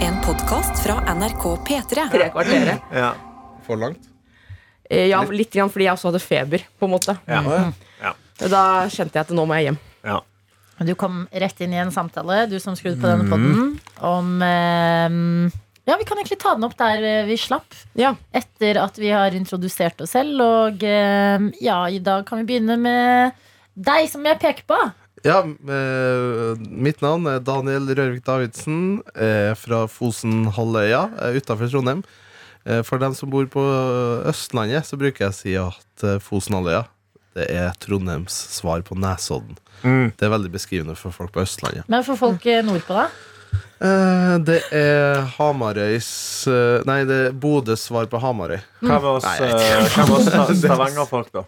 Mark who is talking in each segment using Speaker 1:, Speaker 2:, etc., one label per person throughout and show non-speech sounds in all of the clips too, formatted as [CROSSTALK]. Speaker 1: En podkast fra NRK P3.
Speaker 2: Tre kvarteret.
Speaker 3: Ja.
Speaker 4: For langt?
Speaker 2: Eh, Ja, litt grann fordi jeg også hadde feber, på en måte.
Speaker 3: Ja.
Speaker 2: Da kjente jeg at nå må jeg hjem.
Speaker 3: Ja.
Speaker 5: Men Du kom rett inn i en samtale, du som skrudde på
Speaker 4: Mm.
Speaker 5: denne podden, om eh, Ja, vi kan egentlig ta den opp der eh, vi slapp,
Speaker 2: Ja.
Speaker 5: etter at vi har introdusert oss selv. Og eh, ja, i dag kan vi begynne med deg som jeg peker på.
Speaker 4: Ja, eh, mitt navn er Daniel Rørvik Davidsen eh, fra Fosenhalvøya eh, utafor Trondheim. Eh, for dem som bor på Østlandet, så bruker jeg å si at eh, Fosenhalvøya det er Trondheims svar på Nesodden.
Speaker 3: Mm.
Speaker 4: Det er veldig beskrivende for folk på Østlandet.
Speaker 5: Men for folk eh, nordpå, da?
Speaker 4: Eh, det er Hamarøys eh, Nei, det er Bodøs svar på Hamarøy.
Speaker 3: Hva med oss, eh, hva med oss sta- Stavanger-folk, da?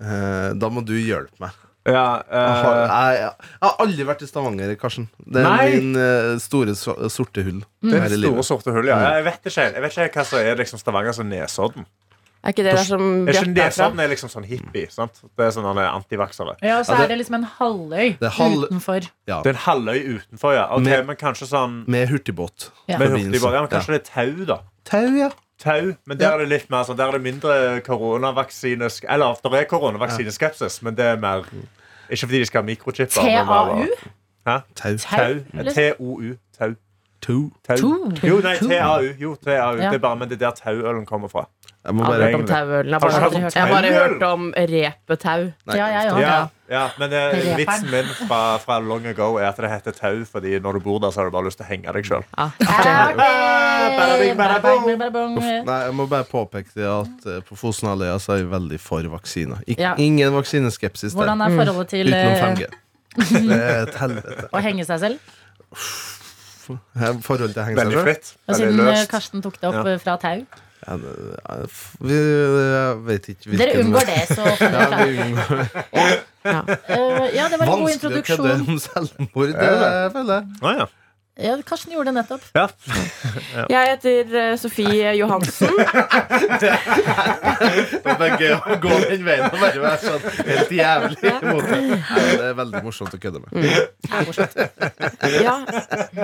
Speaker 4: Eh, da må du hjelpe meg.
Speaker 3: Ja,
Speaker 4: Jeg har,
Speaker 3: eh,
Speaker 4: jeg, jeg har aldri vært i Stavanger, Karsten. Det er
Speaker 3: Nei.
Speaker 4: min eh, store so- sorte hull.
Speaker 3: det
Speaker 4: her
Speaker 3: er
Speaker 4: i
Speaker 3: det
Speaker 4: livet.
Speaker 3: store, sorte hullet. Ja. Jeg vet ikke, helt- jeg vet ikke hva som er liksom Stavanger som Nesodden.
Speaker 2: Er ikke det der som
Speaker 3: Er ikke
Speaker 2: Bjarte er fra?
Speaker 3: Nesodden er liksom sånn hippie. sant? Det er sånn han er antivaksere.
Speaker 5: Ja, og så
Speaker 4: Ja, det-
Speaker 5: er det liksom en halvøy
Speaker 4: Det er halv-
Speaker 5: utenfor.
Speaker 4: Ja.
Speaker 3: Det er en halvøy utenfor, ja. Ok,
Speaker 4: Med-
Speaker 3: Men kanskje sånn
Speaker 4: Med hurtigbåt.
Speaker 5: Ja.
Speaker 3: med
Speaker 4: Forbindelse.
Speaker 3: hurtigbåt. Ja, men kanskje det er tau, da.
Speaker 4: Tau, ja.
Speaker 3: Tau, men der
Speaker 4: Ja.
Speaker 3: er det litt mer sånn Der er det mindre koronavaksinesk Eller det er koronavaksineskepsis, men det er mer Ikke fordi de skal ha mikrochipper. men
Speaker 5: TAU?
Speaker 3: bare- Hæ?
Speaker 4: Tau.
Speaker 3: Tau. liksom?
Speaker 5: Eller-
Speaker 3: T-O-U. Tau.
Speaker 4: Tau.
Speaker 3: Tau.
Speaker 5: To.
Speaker 3: Jo, nei, TAU. Jo, TAU.
Speaker 5: Ja.
Speaker 3: Det er bare men det er der tauølen kommer fra.
Speaker 4: Jeg må
Speaker 2: Aldri
Speaker 4: bare
Speaker 2: hørt om tauølen. Jeg har
Speaker 3: Har
Speaker 2: bare aldri hørt-
Speaker 3: du hørt om
Speaker 2: jeg har bare
Speaker 3: tauøl?
Speaker 2: hørt om repetau.
Speaker 4: Nei.
Speaker 5: Ja, jeg òg.
Speaker 3: Ja,
Speaker 5: Ja.
Speaker 3: ja, Men eh,
Speaker 5: Det er
Speaker 3: vitsen
Speaker 5: reperen.
Speaker 3: min fra, fra long ago er at det heter tau, fordi når du bor der, så har du bare lyst til å henge deg Eh, sjøl.
Speaker 5: Ah.
Speaker 2: Ja.
Speaker 3: Bada bing, bada bong.
Speaker 4: Nei, jeg må bare påpeke det at eh, på Fosenhalvøya så er vi veldig for vaksiner. Ik
Speaker 2: Ja.
Speaker 4: Ingen vaksineskepsis der.
Speaker 5: Hvordan er forholdet til
Speaker 4: Utenom
Speaker 5: [LAUGHS] eh,
Speaker 4: 5G. Det er et helvete.
Speaker 5: å henge seg selv?
Speaker 4: Her, forhold til å henge seg
Speaker 3: Veldig
Speaker 4: selv.
Speaker 3: fritt.
Speaker 5: Og
Speaker 3: Veldig
Speaker 5: siden eh,
Speaker 3: løst.
Speaker 5: Karsten tok det opp
Speaker 3: Ja.
Speaker 5: eh, fra tau.
Speaker 4: Ja, det- ja, f- Vi jeg vet ikke hvilken
Speaker 5: Dere unngår det, så
Speaker 4: [LAUGHS] Ja, vi unngår.
Speaker 5: Eh, Ja, det var en god
Speaker 4: Vanskelig å kødde
Speaker 5: introduksjon.
Speaker 4: om selvmord, det
Speaker 3: Ja.
Speaker 4: føler jeg.
Speaker 3: Å, ja.
Speaker 5: Ja, Karsten gjorde det nettopp.
Speaker 3: Ja.
Speaker 2: Jeg heter eh, Sofie Johansen.
Speaker 4: Det er gøy å gå den veien og bare være sånn helt jævlig imot det. Nei, det er veldig morsomt å kødde
Speaker 2: Mm,
Speaker 4: med.
Speaker 2: Ja.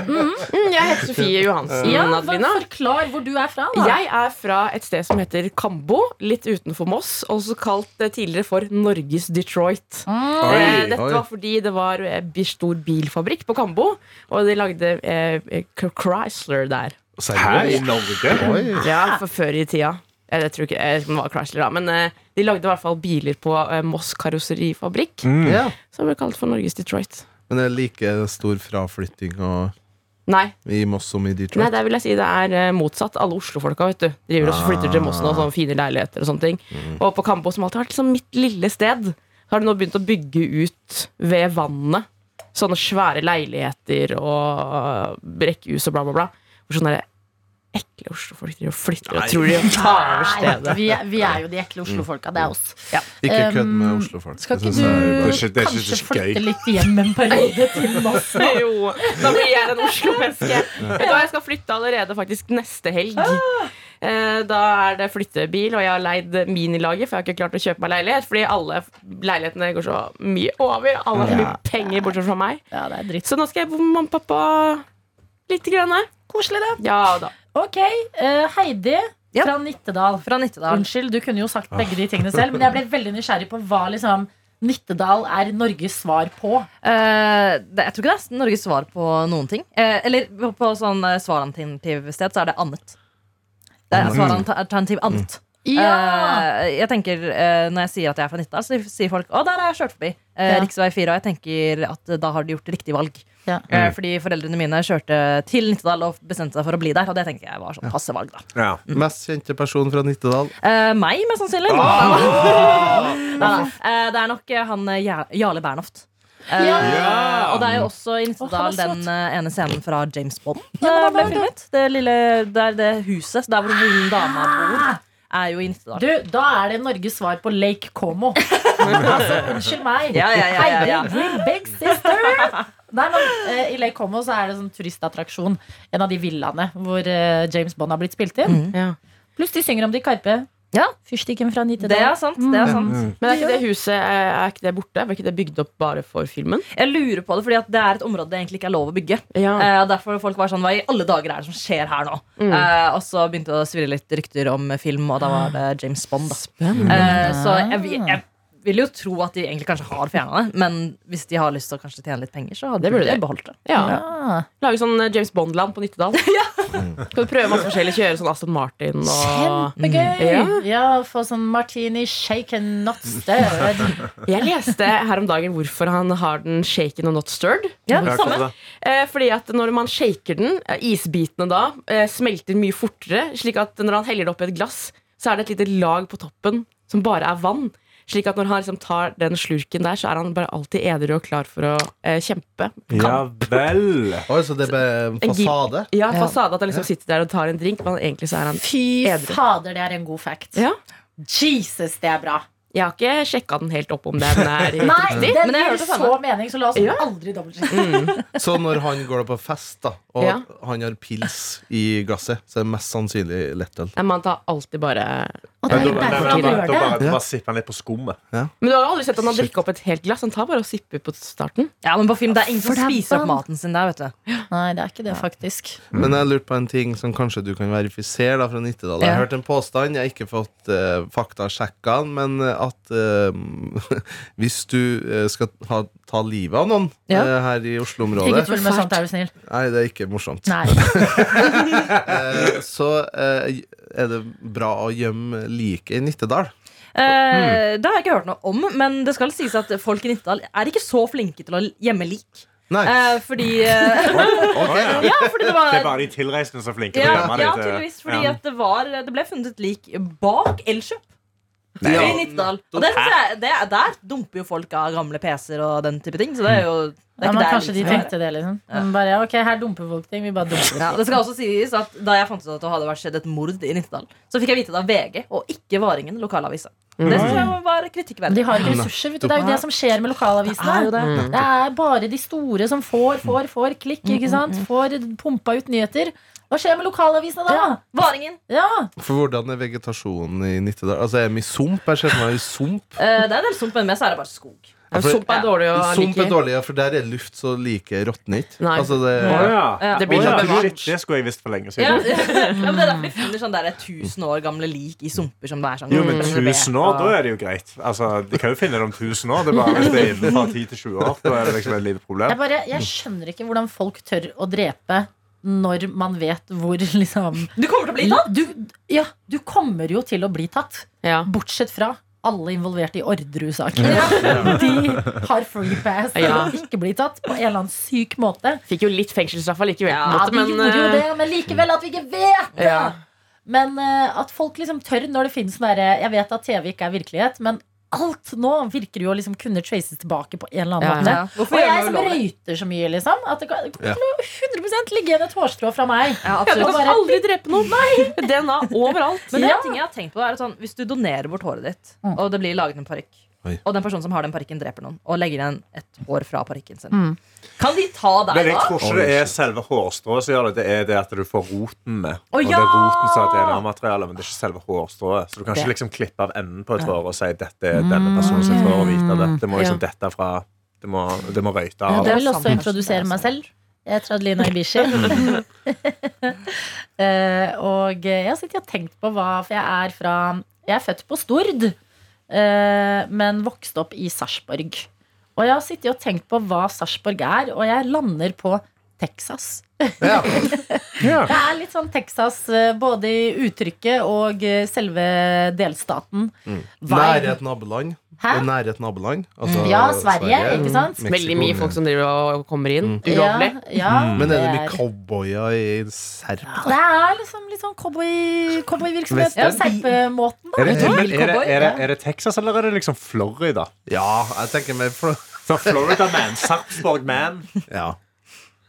Speaker 2: Mhm. Mm, jeg heter Sofie Johansen.
Speaker 5: Ja,
Speaker 2: Mm,
Speaker 5: hva-
Speaker 2: Adelina.
Speaker 5: Forklar hvor du er fra, da.
Speaker 2: Jeg er fra et sted som heter Kambo, litt utenfor Moss, også kalt eh, tidligere for Norges Detroit.
Speaker 5: Mm.
Speaker 2: Eh,
Speaker 3: Oi,
Speaker 2: Dette
Speaker 4: oi.
Speaker 2: var fordi det var eh, bi- stor bilfabrikk på Kambo, og de lagde eh, Chr- Chrysler der.
Speaker 3: Hæ? I Norge?
Speaker 4: Oi.
Speaker 2: Ja, for før i tida. Eh, Jeg tror ikke jeg vet ikke om det var Chrysler, da, men eh, de lagde i hvert fall biler på eh, Moss karosserifabrikk,
Speaker 3: Mm.
Speaker 4: Ja.
Speaker 2: som ble kalt for Norges Detroit.
Speaker 4: Men det er like stor fraflytting og,
Speaker 2: Nei,
Speaker 4: i Moss som i
Speaker 2: Nei,
Speaker 4: Detroit.
Speaker 2: det vil jeg si det er eh, motsatt. Alle Oslo-folka vet du driver og flytter til Mossen og sånne fine leiligheter. Og sånne ting Og på Kambo, som alltid har vært liksom mitt lille sted, har de nå begynt å bygge ut ved vannet. Sånne svære leiligheter og rekkehus og bla, bla, bla. Hvor sånne der ekle Oslo-folk driver og flytter og tror de tar over
Speaker 5: Nei,
Speaker 2: stedet.
Speaker 5: vi, er, vi er jo de ekle Oslo-folka. Det er oss.
Speaker 4: Ikke
Speaker 5: Um,
Speaker 4: kødd med Oslo-folk.
Speaker 5: Skal
Speaker 4: Det
Speaker 5: ikke
Speaker 4: synes jeg er
Speaker 5: du
Speaker 4: bare-
Speaker 3: ikke- det er ikke
Speaker 5: kanskje
Speaker 3: så gøy.
Speaker 5: flytte litt hjem en periode til Moss?
Speaker 2: Jo, da blir jeg en Oslo-menneske. Vet du hva, Jeg skal flytte allerede faktisk neste helg. Eh, Da er det flyttebil, og jeg har leid minilager, for jeg har ikke klart å kjøpe meg leilighet. Fordi alle leilighetene går så mye over. Alle har så mye penger, bortsett fra meg.
Speaker 5: Ja, det er dritt.
Speaker 2: Så nå skal jeg bo med mamma og pappa lite grann her.
Speaker 5: Koselig, det.
Speaker 2: Ja da.
Speaker 5: Ok, eh, Heidi
Speaker 6: Ja.
Speaker 5: fra Nittedal.
Speaker 6: Fra Nittedal.
Speaker 5: Unnskyld, du kunne jo sagt begge de tingene selv, men jeg ble veldig nysgjerrig på hva liksom Nittedal er Norges svar på.
Speaker 6: Eh, det, jeg tror ikke det er Norges svar på noen ting. Eh, eller på, på sånn eh, svaralternativ sted så er det annet. Det er svaralternativ annet. Eh, jeg tenker, eh, Når jeg sier at jeg er fra Nittedal, så sier folk å, der har jeg kjørt forbi. Uh,
Speaker 5: Ja.
Speaker 6: Riksvei 4. Og jeg tenker at eh, da har de gjort riktig valg.
Speaker 5: Ja.
Speaker 6: Eh, fordi foreldrene mine kjørte til Nittedal og bestemte seg for å bli der. Og det tenker jeg var sånn passe valg, da.
Speaker 3: Ja.
Speaker 4: Mest kjente person fra Nittedal.
Speaker 6: Eh, meg, mest sannsynlig.
Speaker 3: Ah.
Speaker 6: Nei, nei. Eh, det er nok eh, han eh, Ja- Jarle Bernhoft. Eh,
Speaker 3: Ja.
Speaker 6: Og det er jo også
Speaker 5: Å,
Speaker 6: i
Speaker 5: han
Speaker 6: Nittedal
Speaker 5: er søt.
Speaker 6: den eh, ene scenen fra James Bond.
Speaker 5: Ja,
Speaker 6: eh,
Speaker 5: men det
Speaker 6: ble
Speaker 5: var det.
Speaker 6: filmet. Det lille, det er det huset der hvor hun dama bor, er jo i Nittedal.
Speaker 5: Du, da er det Norges svar på Lake Como. altså, unnskyld meg.
Speaker 6: Ja, ja, ja, ja, ja.
Speaker 5: Heidi, we're big sister. Nei, men eh, I Lake Como så er det sånn turistattraksjon. En av de villaene hvor eh, James Bond har blitt spilt inn.
Speaker 2: Ja.
Speaker 5: Pluss de synger om de Karpe.
Speaker 6: Ja,
Speaker 5: Fyrstikken fra
Speaker 6: det er
Speaker 5: 90-tallet.
Speaker 6: sant. det
Speaker 5: Mm.
Speaker 6: er sant
Speaker 2: Men er ikke det huset er, er ikke det borte? Var ikke det bygd opp bare for filmen?
Speaker 6: Jeg lurer på det, fordi at det er et område det egentlig ikke er lov å bygge.
Speaker 2: Ja.
Speaker 6: Eh, og derfor var folk var sånn, Hva i alle dager er det som skjer her nå?
Speaker 5: Mm.
Speaker 6: Eh, og så begynte det å svirre litt rykter om film, og da var det James Bond. da Eh, Så jeg, jeg vil jo tro at de egentlig kanskje har fjerna det, men hvis de har lyst til å kanskje tjene litt penger, så hadde
Speaker 2: Det burde de.
Speaker 6: de beholdt det.
Speaker 2: Ja.
Speaker 5: Ah,
Speaker 2: Lage sånn eh, James Bond-land på Nittedal. [LAUGHS] ja. Kan du prøve masse forskjellig? Kjøre sånn Aston Martin og
Speaker 5: Kjempegøy! Ja, få sånn martini shaken, not stirred.
Speaker 2: Jeg leste her om dagen hvorfor han har den shaken og not stirred.
Speaker 6: Ja,
Speaker 3: Ja,
Speaker 6: samme.
Speaker 3: kanskje det.
Speaker 2: Eh, fordi at når man shaker den, eh, isbitene da, eh, smelter mye fortere. Slik at når han heller det oppi et glass, så er det et lite lag på toppen som bare er vann. Slik at når han liksom tar den slurken der, så er han bare alltid edru og klar for å eh, kjempe.
Speaker 3: Ja vel.
Speaker 4: Oi, så det er bare en
Speaker 2: En gir-
Speaker 4: fasade?
Speaker 2: Ja, fasade at han liksom sitter der og tar en drink, men egentlig så er han
Speaker 5: Fy
Speaker 2: Edru.
Speaker 5: fader, det er en god fact.
Speaker 2: Ja.
Speaker 5: Jesus, det er bra.
Speaker 2: Jeg har ikke sjekka den helt opp om den [LAUGHS] er helt
Speaker 5: Nei,
Speaker 2: riktig.
Speaker 5: det
Speaker 6: Men jeg
Speaker 5: gir
Speaker 6: hørte det
Speaker 5: så mening, så la oss
Speaker 2: Ja.
Speaker 5: aldri dobbeltsjekke.
Speaker 4: Så når han går da på fest, da og
Speaker 2: Ja.
Speaker 4: han har pils i glasset, så er det mest sannsynlig lettøl.
Speaker 2: Nei, Man tar alltid bare
Speaker 5: Og det
Speaker 3: Men Da
Speaker 5: er jo
Speaker 3: nei,
Speaker 5: derfor
Speaker 3: men
Speaker 5: de
Speaker 3: da- da
Speaker 5: gjør
Speaker 3: bare,
Speaker 5: det.
Speaker 3: da bare sipper han litt på skummet.
Speaker 2: Men du har jo aldri sett han har drikke opp et helt glass. Han tar bare og sipper på starten.
Speaker 6: Ja, men på film det er ingen
Speaker 5: For
Speaker 6: som
Speaker 5: det er
Speaker 6: spiser opp
Speaker 5: vann.
Speaker 6: maten sin der. vet du
Speaker 5: Nei, det er ikke det, faktisk.
Speaker 4: Men jeg lurte på en ting som kanskje du kan verifisere da, fra Nittedal. Jeg har
Speaker 6: Ja.
Speaker 4: hørt en påstand, jeg har ikke fått uh, faktasjekka den, men eh, at eh, [LAUGHS] hvis du eh, skal ha, ta livet av noen
Speaker 6: Ja.
Speaker 4: eh, her i
Speaker 5: Ikke
Speaker 4: Oslo-området
Speaker 5: tull med sånt, er du snill.
Speaker 4: Nei, det er ikke morsomt.
Speaker 5: Nei.
Speaker 4: Eh, så eh, er det bra å gjemme liket i Nittedal.
Speaker 6: Eh,
Speaker 3: Hmm.
Speaker 6: Det har jeg ikke hørt noe om, men det skal sies at folk i Nittedal er ikke så flinke til å gjemme lik.
Speaker 4: Nei,
Speaker 6: Eh, fordi eh,
Speaker 4: ok.
Speaker 6: Ja, fordi det
Speaker 3: Det
Speaker 6: var
Speaker 3: er bare de tilreisende som er flinke. til å
Speaker 6: Ja,
Speaker 3: gjemme det
Speaker 6: ja
Speaker 3: til-
Speaker 6: tydeligvis. Fordi
Speaker 3: Ja.
Speaker 6: at det, var, det ble funnet et lik bak Elkjøp.
Speaker 4: Nei.
Speaker 6: I Nittedal. Og det, synes jeg, det, er- der dumper jo folk av gamle PC-er og den type ting. Så det er jo det er
Speaker 5: Ja,
Speaker 6: ikke
Speaker 5: men
Speaker 6: der
Speaker 5: kanskje de
Speaker 6: liksom.
Speaker 5: tenkte det, liksom. Men bare, ja, ok, her dumper folk ting. Vi bare dumper
Speaker 6: Ja,
Speaker 5: det.
Speaker 6: det skal også sies at Da jeg fant ut at det hadde vært skjedd et mord i Nittedal, så fikk jeg vite det av VG og ikke Varingen, lokalavisa. Det synes jeg var
Speaker 5: Mm. Men
Speaker 6: kritikkverdig.
Speaker 5: De har ikke ressurser. vet du. Det er jo det som skjer med lokalavisene. Det
Speaker 6: Mm.
Speaker 5: er, bare de store som får, får, får klikk. ikke sant? Får pumpa ut nyheter. Hva skjer med lokalavisene da?
Speaker 6: Varingen.
Speaker 5: Ja,
Speaker 4: For hvordan er vegetasjonen i Nittedal? Altså, er det mye sump? Jeg ser for meg sump.
Speaker 6: Eh, det er en del sump, men mest er det bare skog.
Speaker 3: [LAUGHS]
Speaker 2: Ja,
Speaker 4: for-
Speaker 2: Sump er dårlig å
Speaker 4: Sump
Speaker 2: like.
Speaker 4: er dårlig, ja, for der er luft så like råtner ikke.
Speaker 2: Nei.
Speaker 4: Altså, det,
Speaker 3: Å ja.
Speaker 2: Det
Speaker 3: Å
Speaker 2: blir
Speaker 3: ja,
Speaker 2: sånn
Speaker 3: shit,
Speaker 2: bevart.
Speaker 3: det skulle jeg visst for lenge
Speaker 6: Ja, ja,
Speaker 3: siden.
Speaker 6: men Det er derfor de finner sånn der 1000 år gamle lik i sumper som det er sånn
Speaker 3: Jo, men
Speaker 6: Mm.
Speaker 3: 1000 år, da er det jo greit. Altså, De kan jo finne det om 1000 år. Det er bare hvis det er innenfor 10 til 20 år. Da er det liksom et lite
Speaker 5: jeg,
Speaker 3: problem.
Speaker 5: bare, jeg skjønner ikke hvordan folk tør å drepe når man vet hvor liksom
Speaker 6: Du kommer til å bli tatt!
Speaker 5: Du, ja, du kommer jo til å bli tatt.
Speaker 2: Ja.
Speaker 5: Bortsett fra alle involverte i Orderud-saken. [LAUGHS] De har free pass til
Speaker 2: Ja.
Speaker 5: å ikke bli tatt på en eller annen syk måte.
Speaker 2: Fikk jo litt fengselsstraff allikevel. på en
Speaker 5: Ja,
Speaker 2: måte,
Speaker 5: vi
Speaker 2: men,
Speaker 5: gjorde jo
Speaker 2: eh,
Speaker 5: det, men likevel at vi ikke vet det!
Speaker 2: Ja.
Speaker 5: Men eh, at folk liksom tør når det finnes sånn derre Jeg vet at TV ikke er virkelighet, men alt nå virker jo å liksom kunne traces tilbake på en eller annen
Speaker 2: Ja,
Speaker 5: måte.
Speaker 6: Ja. Hvorfor
Speaker 5: Og
Speaker 6: gjør
Speaker 5: jeg
Speaker 6: man
Speaker 5: som
Speaker 6: ulovlig?
Speaker 5: røyter så mye, liksom. At det kan det
Speaker 4: Ja.
Speaker 5: kommer til å 100 ligge igjen et hårstrå fra meg.
Speaker 6: Ja, absolutt.
Speaker 2: Du
Speaker 5: Og bare-
Speaker 2: kan aldri drepe noen. [LAUGHS] Nei. DNA overalt.
Speaker 6: Men det er
Speaker 5: Ja. Mm.
Speaker 6: en ting jeg har tenkt på er at sånn, Hvis du donerer bort håret ditt, og det blir laget en parykk,
Speaker 4: Oi.
Speaker 6: og den personen som har den parykken, dreper noen, og legger igjen et hår fra parykken sin,
Speaker 5: Mm.
Speaker 6: kan de ta
Speaker 3: Men
Speaker 6: deg
Speaker 3: jeg
Speaker 6: da?
Speaker 3: tror ikke det er selve hårstrået som gjør det. Det er det at du får roten med.
Speaker 6: Å,
Speaker 3: Og det
Speaker 6: ja!
Speaker 3: er roten som er DNA-materialet, men det er ikke selve hårstrået. Så du kan
Speaker 6: Det-
Speaker 3: ikke liksom klippe av enden på et hår og si dette er denne personen sitt hår, og vite det. Det må liksom dette fra Det må, det må røyte
Speaker 5: Ja,
Speaker 3: av.
Speaker 5: det vil også
Speaker 6: Samme.
Speaker 5: introdusere meg selv. Jeg heter Adelina [LAUGHS] Ibishi. Eh, og jeg har sittet og tenkt på hva For jeg er fra Jeg er født på Stord, eh, men vokste opp i Sarpsborg. Og jeg har sittet og tenkt på hva Sarpsborg er, og jeg lander på Texas.
Speaker 4: Ja.
Speaker 5: Det er litt sånn Texas eh, både i uttrykket og eh, selve delstaten.
Speaker 4: Mm. Nære et naboland.
Speaker 5: Hæ?
Speaker 4: Og nære et naboland. Altså,
Speaker 5: Ja, Sverige, ikke sant?
Speaker 4: Mexico.
Speaker 2: Veldig mye folk som driver og kommer inn.
Speaker 3: Mm.
Speaker 2: Ulovlig.
Speaker 5: Ja, ja,
Speaker 4: Men er det
Speaker 5: det
Speaker 4: mye
Speaker 5: er-
Speaker 4: cowboyer i Serp?
Speaker 5: Det er liksom litt sånn cowboy- cowboyvirksomhet. Cowboy
Speaker 4: Western.
Speaker 5: Serpemåten, da.
Speaker 3: Er det, men
Speaker 4: Ja.
Speaker 3: er, det,
Speaker 6: Cowboy,
Speaker 3: er, det, er det Texas, eller er det liksom Florida?
Speaker 4: Ja, jeg tenker mer for
Speaker 3: Så Florida Man, Sarpsborg Man.
Speaker 4: ja.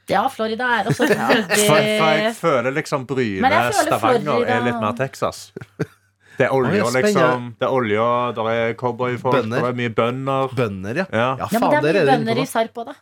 Speaker 5: Ja, Florida er også
Speaker 3: For, for jeg
Speaker 5: veldig
Speaker 3: føler liksom Bryne,
Speaker 5: Men jeg føler
Speaker 3: Stavanger
Speaker 5: Florida-
Speaker 3: er litt mer Texas. [LAUGHS] Det er olja,
Speaker 4: Oi, spennende.
Speaker 3: liksom. Det er olja, der er cowboyfolk,
Speaker 4: Bønder.
Speaker 3: der er mye bønder.
Speaker 4: Bønder, ja.
Speaker 3: Ja.
Speaker 4: Ja,
Speaker 5: Ja, men
Speaker 4: faen,
Speaker 5: det
Speaker 4: der er
Speaker 5: er mye
Speaker 4: det
Speaker 5: bønder i
Speaker 4: inne på.
Speaker 5: Sarp òg, da.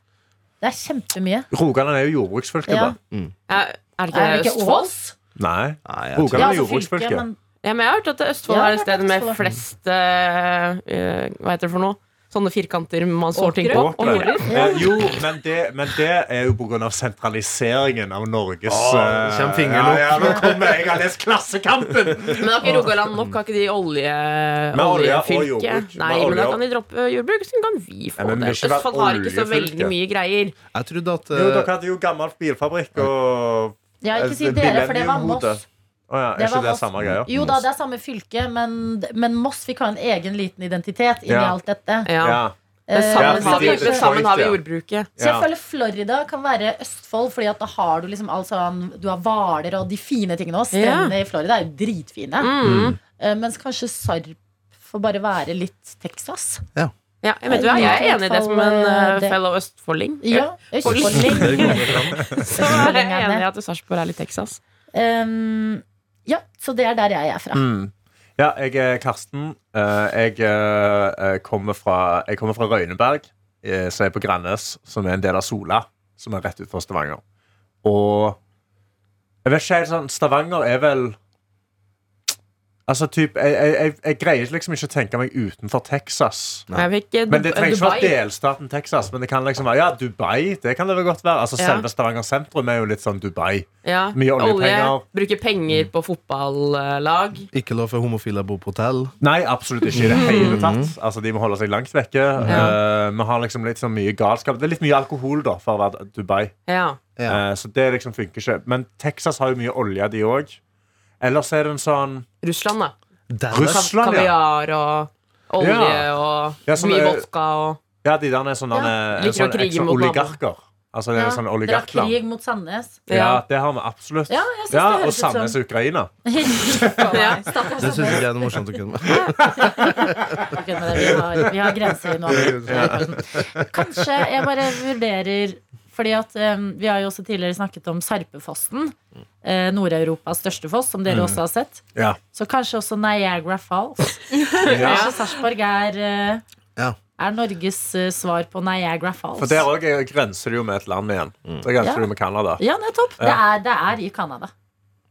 Speaker 5: Det er kjempemye.
Speaker 3: Rogaland er jo jordbruksfylket,
Speaker 5: Ja.
Speaker 3: da.
Speaker 2: Er er det
Speaker 5: Er det
Speaker 2: ikke
Speaker 5: ikke
Speaker 2: Østfold?
Speaker 5: Ås?
Speaker 3: Nei.
Speaker 4: Nei, jeg tror-
Speaker 3: Rogaland
Speaker 5: Ja,
Speaker 3: er
Speaker 5: altså fylket,
Speaker 3: jordbruksfylket.
Speaker 5: men
Speaker 2: Ja, men jeg har hørt at Østfold
Speaker 5: Ja,
Speaker 2: er det
Speaker 5: jeg har hørt
Speaker 2: stedet med
Speaker 5: Østfold.
Speaker 2: flest eh, eh, Hva heter det for noe? Sånne firkanter man sår ting på.
Speaker 3: Åkre.
Speaker 2: Og morer.
Speaker 3: Eh, jo, men det, men det er jo pga. sentraliseringen av Norges
Speaker 4: Åh,
Speaker 3: eh,
Speaker 4: kjem fingeren
Speaker 3: ja,
Speaker 4: opp.
Speaker 3: ja, nå kommer jeg, jeg har lest
Speaker 4: [LAUGHS]
Speaker 3: Klassekampen!
Speaker 2: Men har ikke Rogaland nok? Har ikke de olje,
Speaker 3: Med olje og
Speaker 2: oljefylke?
Speaker 3: jordbruk.
Speaker 2: Nei,
Speaker 3: Med
Speaker 2: men da
Speaker 3: olje og-
Speaker 2: kan de droppe eh, jordbruk, så kan vi få
Speaker 3: Nei, men vi
Speaker 2: det.
Speaker 3: vil ikke være
Speaker 2: Østfold har ikke så
Speaker 3: oljefylke.
Speaker 2: veldig mye greier.
Speaker 4: Jeg trodde at
Speaker 3: Jo, dere
Speaker 4: eh,
Speaker 3: hadde jo gammel bilfabrikk og
Speaker 5: Ja, ikke si
Speaker 3: Altså, Det er
Speaker 5: dere,
Speaker 3: bildet
Speaker 5: for det
Speaker 3: i
Speaker 5: var
Speaker 3: hodet.
Speaker 5: Moss.
Speaker 3: Å ja,
Speaker 5: Det
Speaker 3: er ikke
Speaker 5: var
Speaker 3: det
Speaker 5: Moss.
Speaker 3: samme greia?
Speaker 5: Jo da, det er samme fylke, men, men Moss fikk ha en egen liten identitet inni
Speaker 3: Ja.
Speaker 5: alt dette.
Speaker 2: Ja.
Speaker 3: Ja.
Speaker 2: Men
Speaker 5: Eh,
Speaker 2: sammen,
Speaker 3: Ja,
Speaker 2: har vi,
Speaker 3: fordi-
Speaker 2: men sammen har vi
Speaker 3: Ja.
Speaker 2: jordbruket.
Speaker 5: Så jeg
Speaker 3: Ja.
Speaker 5: føler Florida kan være Østfold, Fordi at da har du liksom alt sånn Du har Hvaler og de fine tingene også. Strendene i Florida er jo dritfine.
Speaker 2: Mm.
Speaker 5: Eh, Mens kanskje Sarp får bare være litt Texas.
Speaker 2: Ja, jeg, vet, du hva, jeg er enig i det som en eh,
Speaker 5: Det-
Speaker 2: fellow østfolding.
Speaker 5: Ja,
Speaker 2: Østfolding.
Speaker 5: Østfolding.
Speaker 4: eh,
Speaker 2: Så er jeg enig i at Sarpsborg er litt Texas.
Speaker 5: Um, ja, så det er der jeg er fra.
Speaker 3: Mm. Ja, jeg er Karsten. Eh, Jeg, eh, kommer fra, jeg kommer fra Røyneberg, eh, som er på Grannes, som er en del av Sola, som er rett utenfor Stavanger. Og jeg vet ikke helt sånn Stavanger er vel Altså, typ, jeg, jeg, jeg, jeg greier liksom ikke å tenke meg utenfor Texas.
Speaker 4: Nei.
Speaker 2: Jeg fikk eh,
Speaker 3: Men det trenger ikke
Speaker 2: Dubai.
Speaker 3: være delstaten Texas, men det kan liksom være Ja, Dubai. Det kan det vel godt være. Altså,
Speaker 2: Ja.
Speaker 3: Selve Stavanger sentrum er jo litt sånn Dubai.
Speaker 2: Ja.
Speaker 3: Mye oljepenger.
Speaker 2: Bruke penger på fotballag.
Speaker 4: ikke lov for homofile å bo på hotell.
Speaker 3: Nei, absolutt ikke i
Speaker 5: Mm.
Speaker 3: det hele tatt. Altså, De må holde seg langt vekke.
Speaker 2: Ja.
Speaker 3: Eh, vi har liksom litt sånn mye galskap. Det er litt mye alkohol da, for å være Dubai.
Speaker 2: Ja.
Speaker 4: Ja.
Speaker 3: Eh, så det liksom funker ikke. Men Texas har jo mye olje, de òg. Ellers er det en sånn
Speaker 2: Russland, da.
Speaker 4: Dallas.
Speaker 3: Russ- Russland, ja.
Speaker 2: Kaviar og olje
Speaker 3: Ja.
Speaker 2: og
Speaker 3: Ja, som
Speaker 2: mye
Speaker 3: er-
Speaker 2: vodka og
Speaker 3: Ja, de der er sånne, eh,
Speaker 2: Liker å
Speaker 3: sånne,
Speaker 2: krige
Speaker 3: sånne
Speaker 2: mot hverandre.
Speaker 3: oligarker. Altså, det er
Speaker 5: Ja,
Speaker 3: sånn
Speaker 5: Dere har
Speaker 3: oligarkland.
Speaker 5: krig mot Sandnes.
Speaker 3: Ja, det har vi absolutt.
Speaker 5: Ja, jeg synes det høres
Speaker 3: og
Speaker 5: ut som-
Speaker 3: Sandnes og Ukraina. [LAUGHS]
Speaker 2: Ja.
Speaker 4: Det syns ikke jeg er noe morsomt å kunne med.
Speaker 5: Ok, men det- Vi har, vi har
Speaker 3: [LAUGHS]
Speaker 5: grenser nå.
Speaker 3: sånn.
Speaker 5: Kanskje jeg bare vurderer Fordi at um, Vi har jo også tidligere snakket om Sarpefossen. Eh, Nord-Europas største foss, som
Speaker 3: Mm.
Speaker 5: dere også har sett.
Speaker 3: Ja.
Speaker 5: Så kanskje også Niagara Falls.
Speaker 3: Ja.
Speaker 5: Kanskje Sarpsborg er, eh,
Speaker 4: Ja.
Speaker 5: er Norges eh, svar på Niagara Falls.
Speaker 3: For der òg grenser det jo med et land igjen. Da grenser
Speaker 5: Mm. Ja.
Speaker 3: det jo med Canada.
Speaker 5: Ja, nettopp. Det er, det er i Canada.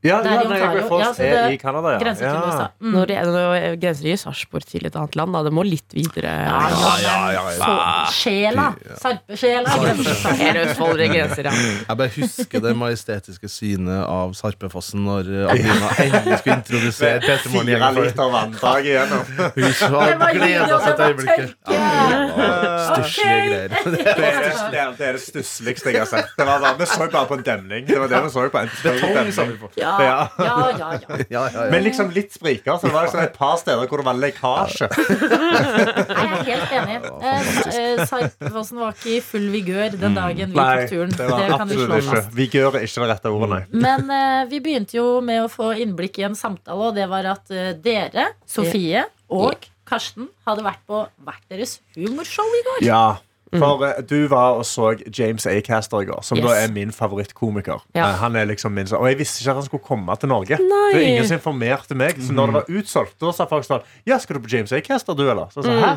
Speaker 3: Ja,
Speaker 5: Det er
Speaker 3: ja,
Speaker 5: i Ontario.
Speaker 3: Niagara Falls
Speaker 5: Ja, så
Speaker 3: er
Speaker 5: det
Speaker 3: i Canada, ja.
Speaker 5: Grenser til
Speaker 3: Ja.
Speaker 5: USA. Mm.
Speaker 2: Når det, når det grenser i Sarpsborg til et annet land, da. Det må litt videre.
Speaker 5: Ja,
Speaker 4: ja, ja,
Speaker 5: Så,
Speaker 3: Ah,
Speaker 5: sjela. Sarpesjela. grenser.
Speaker 2: Hele Østfold grenser, ja.
Speaker 4: Jeg bare husker det majestetiske synet av Sarpefossen når eh, Adelina endelig skulle introdusere Peter Morn
Speaker 3: Fire
Speaker 4: igjen.
Speaker 3: liter vanntag igjennom.
Speaker 4: Hun så
Speaker 5: Det var jul,
Speaker 4: gleda
Speaker 5: og
Speaker 4: seg
Speaker 5: det
Speaker 4: til
Speaker 5: var
Speaker 4: øyeblikket.
Speaker 5: tørke.
Speaker 4: Stusslige greier.
Speaker 3: [LAUGHS] Det er det, det, er- det, er det stussligste jeg har sett. Det var bare, vi så bare på en demning. Det var det liksom. vi så på. En større demning.
Speaker 5: Ja,
Speaker 3: Ja.
Speaker 5: ja, ja. ja.
Speaker 4: Ja, ja, ja.
Speaker 3: Men liksom litt spriker. Så det var liksom et par steder hvor det var lekkasje.
Speaker 5: Nei, jeg er helt enig. Eh, eh, Sarpsfossen var ikke i full vigør den dagen vi
Speaker 3: Mm. Nei,
Speaker 5: tok turen.
Speaker 3: det var
Speaker 5: Det kan du
Speaker 3: absolutt
Speaker 5: slå
Speaker 3: ikke.
Speaker 5: fast.
Speaker 3: Vigør er ikke det rette ordet, nei.
Speaker 5: Men eh, vi begynte jo med å få innblikk i en samtale, og det var at eh, dere, Sofie og Karsten, hadde vært på hvert deres humorshow i går.
Speaker 3: Ja,
Speaker 5: Mm.
Speaker 3: for eh, du var og så James A. Caster i går, som
Speaker 5: Yes.
Speaker 3: da er min favorittkomiker.
Speaker 2: Ja.
Speaker 3: Eh, Han er liksom min, og jeg visste ikke at han skulle komme til Norge. Det var ingen som informerte meg. Så når det var utsolgt, da sa folk sånn Ja, skal du på James A. Caster, du, eller? Så jeg sa
Speaker 5: Mm.
Speaker 3: hæ?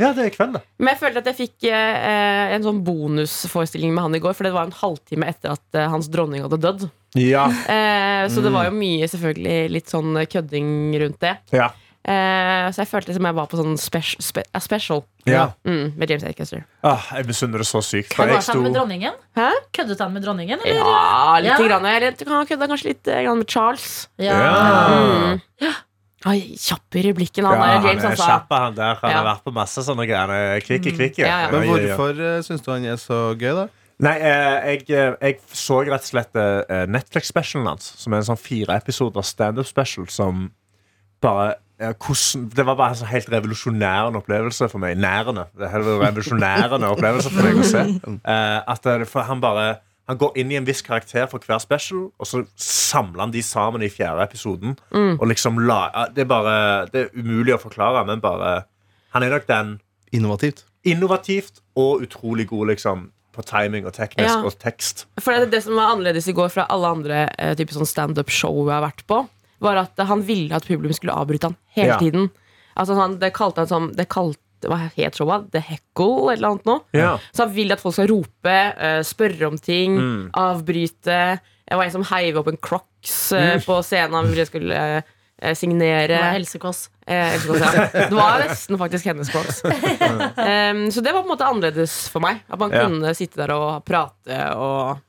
Speaker 3: Ja, det er i kveld, det.
Speaker 2: Men jeg følte at jeg fikk eh, en sånn bonusforestilling med han i går, for det var en halvtime etter at eh, hans dronning hadde dødd.
Speaker 3: Ja.
Speaker 2: Eh, så
Speaker 3: Mm.
Speaker 2: det var jo mye selvfølgelig litt sånn kødding rundt det.
Speaker 3: Ja.
Speaker 2: Eh, så jeg følte som jeg var på sånn spes spe a special
Speaker 3: ja.
Speaker 2: mm, med James Acaster.
Speaker 3: Ah, jeg misunner det så sykt. For
Speaker 5: Køddet
Speaker 3: jeg
Speaker 5: han
Speaker 3: sto
Speaker 5: med dronningen?
Speaker 2: Hæ?
Speaker 5: Køddet han med dronningen, eller?
Speaker 2: Ja, litt
Speaker 5: Ja.
Speaker 2: grann. Eller du kan ha kødda kanskje litt eh, grann med Charles.
Speaker 3: Ja.
Speaker 2: Mm. Ai, kjapper i blikken, han
Speaker 3: Ja,
Speaker 2: er
Speaker 3: han
Speaker 2: James,
Speaker 3: er
Speaker 2: altså.
Speaker 3: kjapp, han der. Han har
Speaker 2: Ja. Mm.
Speaker 3: vært på masse sånne greier. Han er Kvikk i kvikk.
Speaker 2: Ja, ja.
Speaker 4: Men hvorfor uh, syns du han er så gøy, da?
Speaker 3: Nei, eh, jeg, eh, jeg så rett og slett eh, Netflix-specialen hans, som er en sånn fire episoder standup-special som bare eh, hvordan, Det var bare en sånn helt revolusjonærende opplevelse for meg. Nærende. Det er helt revolusjonærende [LAUGHS] opplevelse for meg å se. Eh, at det, for han bare han går inn i en viss karakter for hver special, og så samler han de sammen i fjerde episoden. Og liksom la, eh, det, er bare, det er umulig å forklare, men bare Han er nok den
Speaker 4: Innovativt.
Speaker 3: innovativt og utrolig god liksom, på timing og teknisk
Speaker 2: Ja.
Speaker 3: og tekst.
Speaker 2: For det, det som var annerledes i går fra alle andre eh, type sånn standup-show jeg har vært på, var at eh, han ville at publikum skulle avbryte han hele
Speaker 3: Ja.
Speaker 2: tiden. Altså han, Det kalte han som det kalte, Hva het showet? The Heckle? Eller et eller annet nå.
Speaker 3: Ja.
Speaker 2: Så han vil at folk skal rope, eh, spørre om ting,
Speaker 3: Mm. Mm.
Speaker 2: avbryte. Jeg var en som heiv opp en Crocs eh, på scenen. Han ville jeg skulle eh, eh, signere
Speaker 5: Med helsekås.
Speaker 2: Eh, ikke sant, ja. Det var nesten faktisk hennes
Speaker 3: [LAUGHS]
Speaker 2: plass. Em, så det var på en måte annerledes for meg. At man
Speaker 3: Ja.
Speaker 2: kunne sitte der og prate og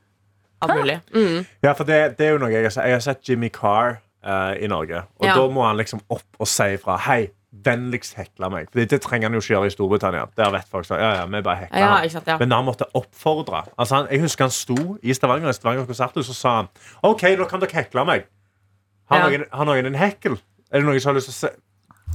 Speaker 2: alt mulig. Mm.
Speaker 3: Ja, for det, det er jo noe jeg har sett. Jeg har sett Jimmy Carr eh, i Norge. Og
Speaker 2: Ja.
Speaker 3: da må han liksom opp og si ifra. Hei, vennligst hekle meg. For det trenger han jo ikke gjøre i Storbritannia. Der vet folk sånn, ja, ja, vi bare hekler
Speaker 2: Ja,
Speaker 3: han.
Speaker 2: ikke sant, ja.
Speaker 3: Men han måtte oppfordre. Altså, han, jeg husker han sto i Stavanger, i Stavanger konserthus og sa han OK, nå kan dere hekle meg.
Speaker 2: Ja.
Speaker 3: Har, noen, har noen en hekkel? Er det noen som har lyst til å se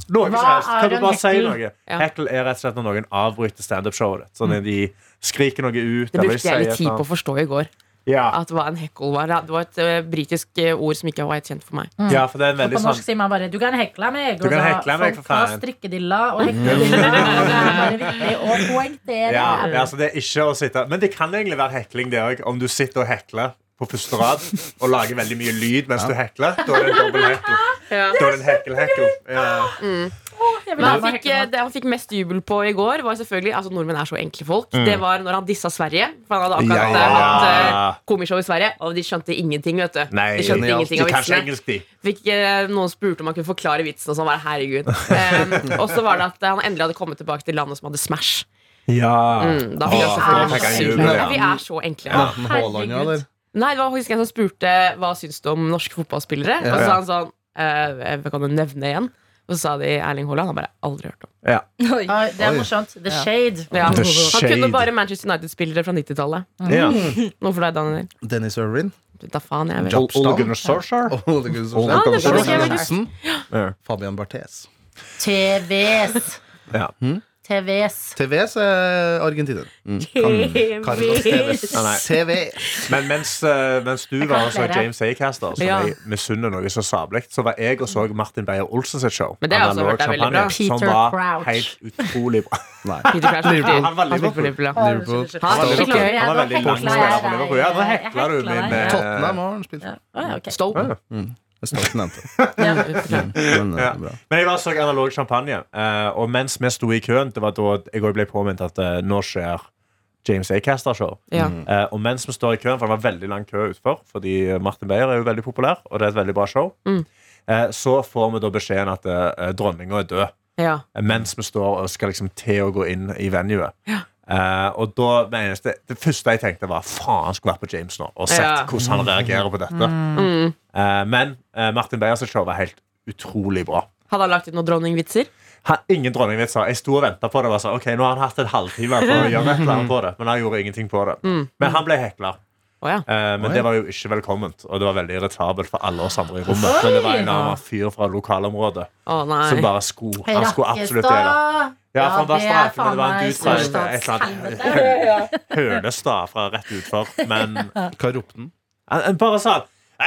Speaker 3: noe
Speaker 5: Hva
Speaker 3: som helst.
Speaker 5: er
Speaker 3: Kan du
Speaker 5: en
Speaker 3: bare si
Speaker 5: hekkel?
Speaker 3: noe?
Speaker 2: Ja. Mm.
Speaker 3: Hekkel er rett og slett når noen avbryter standup-showet ditt. Sånn at de skriker noe ut.
Speaker 2: Det
Speaker 3: eller
Speaker 2: brukte jeg
Speaker 3: sier
Speaker 2: litt tid
Speaker 3: et
Speaker 2: på å forstå i går.
Speaker 3: eller annet.
Speaker 2: At hva en heckle var. Det var et eh, britisk eh, ord som ikke var helt kjent for meg.
Speaker 3: Ja. ja, for det er en
Speaker 5: Og på
Speaker 3: veldig
Speaker 5: norsk
Speaker 3: sånn
Speaker 5: sier man bare 'du kan hekle meg'.
Speaker 3: Du kan hekle meg, for
Speaker 5: folk har
Speaker 3: faen. Mm.
Speaker 5: strikkedilla og hekledilla. og det er bare viktig å poengtere.
Speaker 3: Ja, ja, så det er ikke å sitte Men det kan egentlig være hekling, det òg. Om du sitter og hekler på første rad og lager veldig mye lyd mens du hekler, da er det en dobbel hekkel.
Speaker 2: [LAUGHS] Ja.
Speaker 3: Da er det en hekkel-hekkel. Ja.
Speaker 5: Jeg vil
Speaker 2: Men
Speaker 5: ha
Speaker 2: han
Speaker 5: meg
Speaker 2: fikk,
Speaker 5: hekle
Speaker 2: eh,
Speaker 5: meg.
Speaker 2: det han fikk mest jubel på i går, var selvfølgelig Altså nordmenn er så enkle folk. Det var når han dissa Sverige. For han hadde akkurat
Speaker 3: Mm. Ja, ja,
Speaker 2: eh,
Speaker 3: ja.
Speaker 2: hatt eh, komishow i Sverige, og de skjønte ingenting. vet du
Speaker 3: Nei,
Speaker 2: De skjønte
Speaker 4: genialt.
Speaker 2: ingenting av
Speaker 3: de kan ikke
Speaker 2: vitsene
Speaker 3: engelsk, de.
Speaker 2: Fikk, eh, noen spurte om han kunne forklare vitsen, og sånn var det
Speaker 3: [LAUGHS]
Speaker 2: herregud. Em, og så var det at eh, han endelig hadde kommet tilbake til landet som hadde Smash.
Speaker 3: Ja.
Speaker 2: Mm, da
Speaker 3: Åh,
Speaker 2: fikk han
Speaker 3: da fikk
Speaker 2: så
Speaker 3: han
Speaker 2: sykt
Speaker 3: jubel,
Speaker 2: mye.
Speaker 3: ja.
Speaker 2: Ja, Vi er så enkle.
Speaker 4: Morten Haaland, ja, eller?
Speaker 2: Nei, det var faktisk en som spurte hva syns du om norske fotballspillere.
Speaker 4: Ja.
Speaker 2: Og så sa han sånn eh, Hva kan du nevne igjen? Og så sa de Erling Haaland. Han bare aldri hørt om.
Speaker 6: Oi.
Speaker 5: Ja, eh, det er
Speaker 4: Oi.
Speaker 5: morsomt. The
Speaker 6: Ja.
Speaker 5: Shade.
Speaker 2: Ja.
Speaker 3: The
Speaker 2: Han
Speaker 3: shade.
Speaker 2: kunne bare Manchester United-spillere fra 90-tallet.
Speaker 5: Mm.
Speaker 3: Ja.
Speaker 2: Hvorfor deg, Daniel?
Speaker 4: Dennis [LAUGHS] Irwin.
Speaker 2: Da faen, jeg vet.
Speaker 4: Job.
Speaker 3: Ole Gunnar Solskjær.
Speaker 4: Ole Gunnar Solskjær.
Speaker 3: Ja, det skjønner
Speaker 2: jeg.
Speaker 4: Roy Hodgson.
Speaker 3: Ja.
Speaker 4: Fabian Barthes.
Speaker 5: TVs.
Speaker 3: Ja.
Speaker 5: TVs.
Speaker 4: TVs er argentiner. Mm. Carlos TVs.
Speaker 3: Nei, nei.
Speaker 4: TVs.
Speaker 3: Men mens, eh, mens du
Speaker 5: Jeg
Speaker 3: var
Speaker 5: kan
Speaker 3: og så
Speaker 5: flere.
Speaker 3: James Acaster, som
Speaker 2: Ja.
Speaker 3: jeg misunner noe så sabelig, så var jeg og så Martin Beyer-Olsen sitt show.
Speaker 2: Men det har jeg også
Speaker 3: Analog
Speaker 2: hørt er veldig
Speaker 3: Champagne,
Speaker 2: bra.
Speaker 5: Peter
Speaker 3: Som var
Speaker 5: Crouch.
Speaker 3: helt utrolig bra.
Speaker 4: Nei.
Speaker 2: Peter Crouch.
Speaker 4: Liverpool.
Speaker 2: Han var
Speaker 3: Liverpool.
Speaker 2: Liverpool, ja.
Speaker 4: Liverpool.
Speaker 2: Han var skikkelig høy.
Speaker 3: Han var veldig
Speaker 5: Hekla
Speaker 3: lang spiller for Liverpool. Ja, da
Speaker 5: jeg.
Speaker 3: hekla du
Speaker 5: Jeg
Speaker 3: min
Speaker 5: hekla
Speaker 3: eh,
Speaker 4: Tottenham har han spilt for.
Speaker 5: Å, ja, ok.
Speaker 2: Stoke.
Speaker 4: Det står ikke nevnt.
Speaker 2: Ja.
Speaker 4: Men, eh,
Speaker 3: Ja.
Speaker 4: bra.
Speaker 3: Men jeg var og så analog champagne, eh, og mens vi sto i køen, det var da jeg også ble påminnet at eh, nå skjer James Acaster-show.
Speaker 2: Ja.
Speaker 3: Eh, og mens vi står i køen, for det var veldig lang kø utenfor, fordi Martin Beyer er jo veldig populær, og det er et veldig bra show,
Speaker 2: Mm.
Speaker 3: eh, så får vi da beskjeden at eh, dronninga er død. eh,
Speaker 2: Ja.
Speaker 3: mens vi står og skal liksom til å gå inn i venuet. Eh, og da, det, eneste, det første jeg tenkte, var faen, skulle vært på James nå og sett
Speaker 2: Ja. Mm.
Speaker 3: hvordan han reagerer på dette. Eh, men eh, Martin Beyers show var helt utrolig bra.
Speaker 2: Hadde han lagt ut noen dronningvitser?
Speaker 3: Ha, ingen dronningvitser. Jeg sto og venta på det. Og var sånn, ok, nå har han hatt en halvtime for å gjøre et eller annet på det, men han gjorde ingenting på det.
Speaker 5: Mm.
Speaker 3: Men han ble hekla.
Speaker 2: Å ja.
Speaker 3: Eh, men
Speaker 4: Oi.
Speaker 3: det var jo ikke velkomment, og det var veldig irritabelt for alle oss andre i rommet. Men det var en annen fyr fra
Speaker 2: Å
Speaker 3: lokalområdet som
Speaker 2: nei.
Speaker 3: bare skulle, han skulle absolutt gjøre det.
Speaker 5: Rakkestad.
Speaker 3: Ja, for han var
Speaker 5: det er
Speaker 3: strafende, men det var
Speaker 5: faen
Speaker 3: en
Speaker 5: meg
Speaker 3: dude fra et, et eller annet
Speaker 5: storstadshelvete.
Speaker 3: Hønestad fra rett utfor. Men
Speaker 5: [LAUGHS]
Speaker 3: han,
Speaker 4: Hva ropte han?
Speaker 3: han bare sa «Æ!»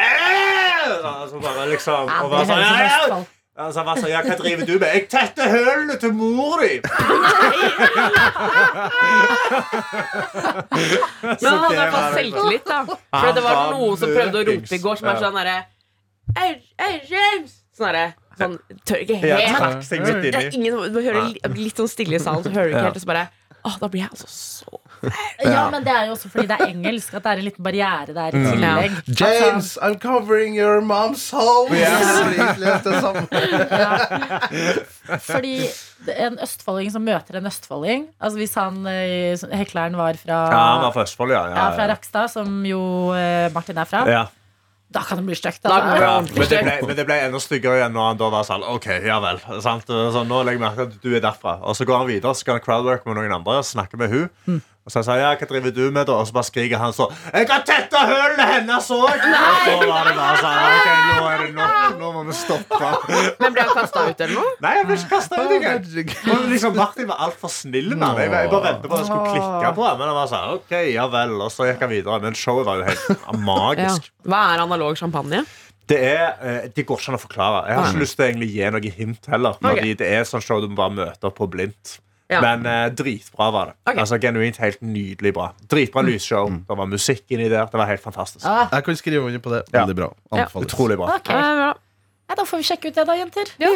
Speaker 3: Altså bare liksom
Speaker 5: Ja,
Speaker 3: og
Speaker 5: det
Speaker 3: var sånn,
Speaker 5: høres som
Speaker 3: «Æ!»
Speaker 5: Østfold.
Speaker 3: altså, han var sånn Ja, hva driver du med? Jeg tetter hølene til
Speaker 5: [LAUGHS]
Speaker 3: mor di!
Speaker 2: Men han hadde i hvert fall
Speaker 3: det var-
Speaker 2: selvtillit, da. For det var
Speaker 3: Han var
Speaker 2: noen som prøvde å rope i
Speaker 3: møkings.
Speaker 2: går, som er
Speaker 3: Ja.
Speaker 2: sånn derre «Ei, ei, James! Sånn derre Sånn tør ikke
Speaker 3: Jeg
Speaker 2: helt.
Speaker 3: trakk seg midt
Speaker 2: Det er
Speaker 3: inni.
Speaker 2: ingen, du hører li- litt sånn stille i salen, så hører du ikke helt, og så bare Å, da blir jeg altså så
Speaker 5: Ja, men det er jo også fordi det er engelsk, at det er en liten barriere der
Speaker 3: Mm.
Speaker 5: i tillegg.
Speaker 4: James, I'm covering your mom's home! [LAUGHS]
Speaker 5: Fordi en østfolding som møter en østfolding Altså Hvis han eh, som- hekleren var fra,
Speaker 3: Ja, han var fra Østfold, ja.
Speaker 5: ja, fra
Speaker 3: ja,
Speaker 5: Rakstad, som jo eh, Martin er fra,
Speaker 3: ja. ja.
Speaker 5: da kan det bli stygt.
Speaker 2: Da går
Speaker 5: Altså.
Speaker 3: Ja, men, det ble, men det ble enda styggere igjen når han da var sånn OK, ja vel. Sant? Så nå legger jeg merke til at du er derfra. Og så går han videre så skal han crowdwork med noen andre og snakke med hun Og så sier han ja, hva driver du med, da? Og så bare skriker han så Jeg har tetta hølene hennes òg! Og så var det bare sånn OK, nå er det nok. Nå må vi stoppe.
Speaker 2: Men ble han kasta ut eller noe?
Speaker 3: Nei, jeg ble ikke kasta ut engang.
Speaker 4: Herregud.
Speaker 3: Og Liksom, Martin var altfor snill med han. Jeg, jeg bare ventet på at jeg skulle klikke på han. Men han var sånn OK, ja vel. Og så gikk han videre. Men showet var jo helt [LAUGHS]
Speaker 2: Ja.
Speaker 3: magisk.
Speaker 2: Hva er analog champagne?
Speaker 3: Det, er, eh, det går ikke an å forklare. Jeg har ikke lyst til å egentlig gi noe hint heller. Fordi
Speaker 2: Ok.
Speaker 3: det er sånn show du må bare møte opp på blindt.
Speaker 2: Ja.
Speaker 3: Men eh, dritbra var det.
Speaker 2: Ok.
Speaker 3: Altså Genuint helt nydelig bra. Dritbra lysshow. Det var musikk inni der. Det var helt fantastisk.
Speaker 5: Ah,
Speaker 4: Jeg kan skrive under på det.
Speaker 3: Ja.
Speaker 4: Veldig bra. Anbefales.
Speaker 3: Utrolig bra.
Speaker 5: ok.
Speaker 2: Eh, bra.
Speaker 5: Nei, da får vi sjekke ut det, da, jenter.
Speaker 6: Ja.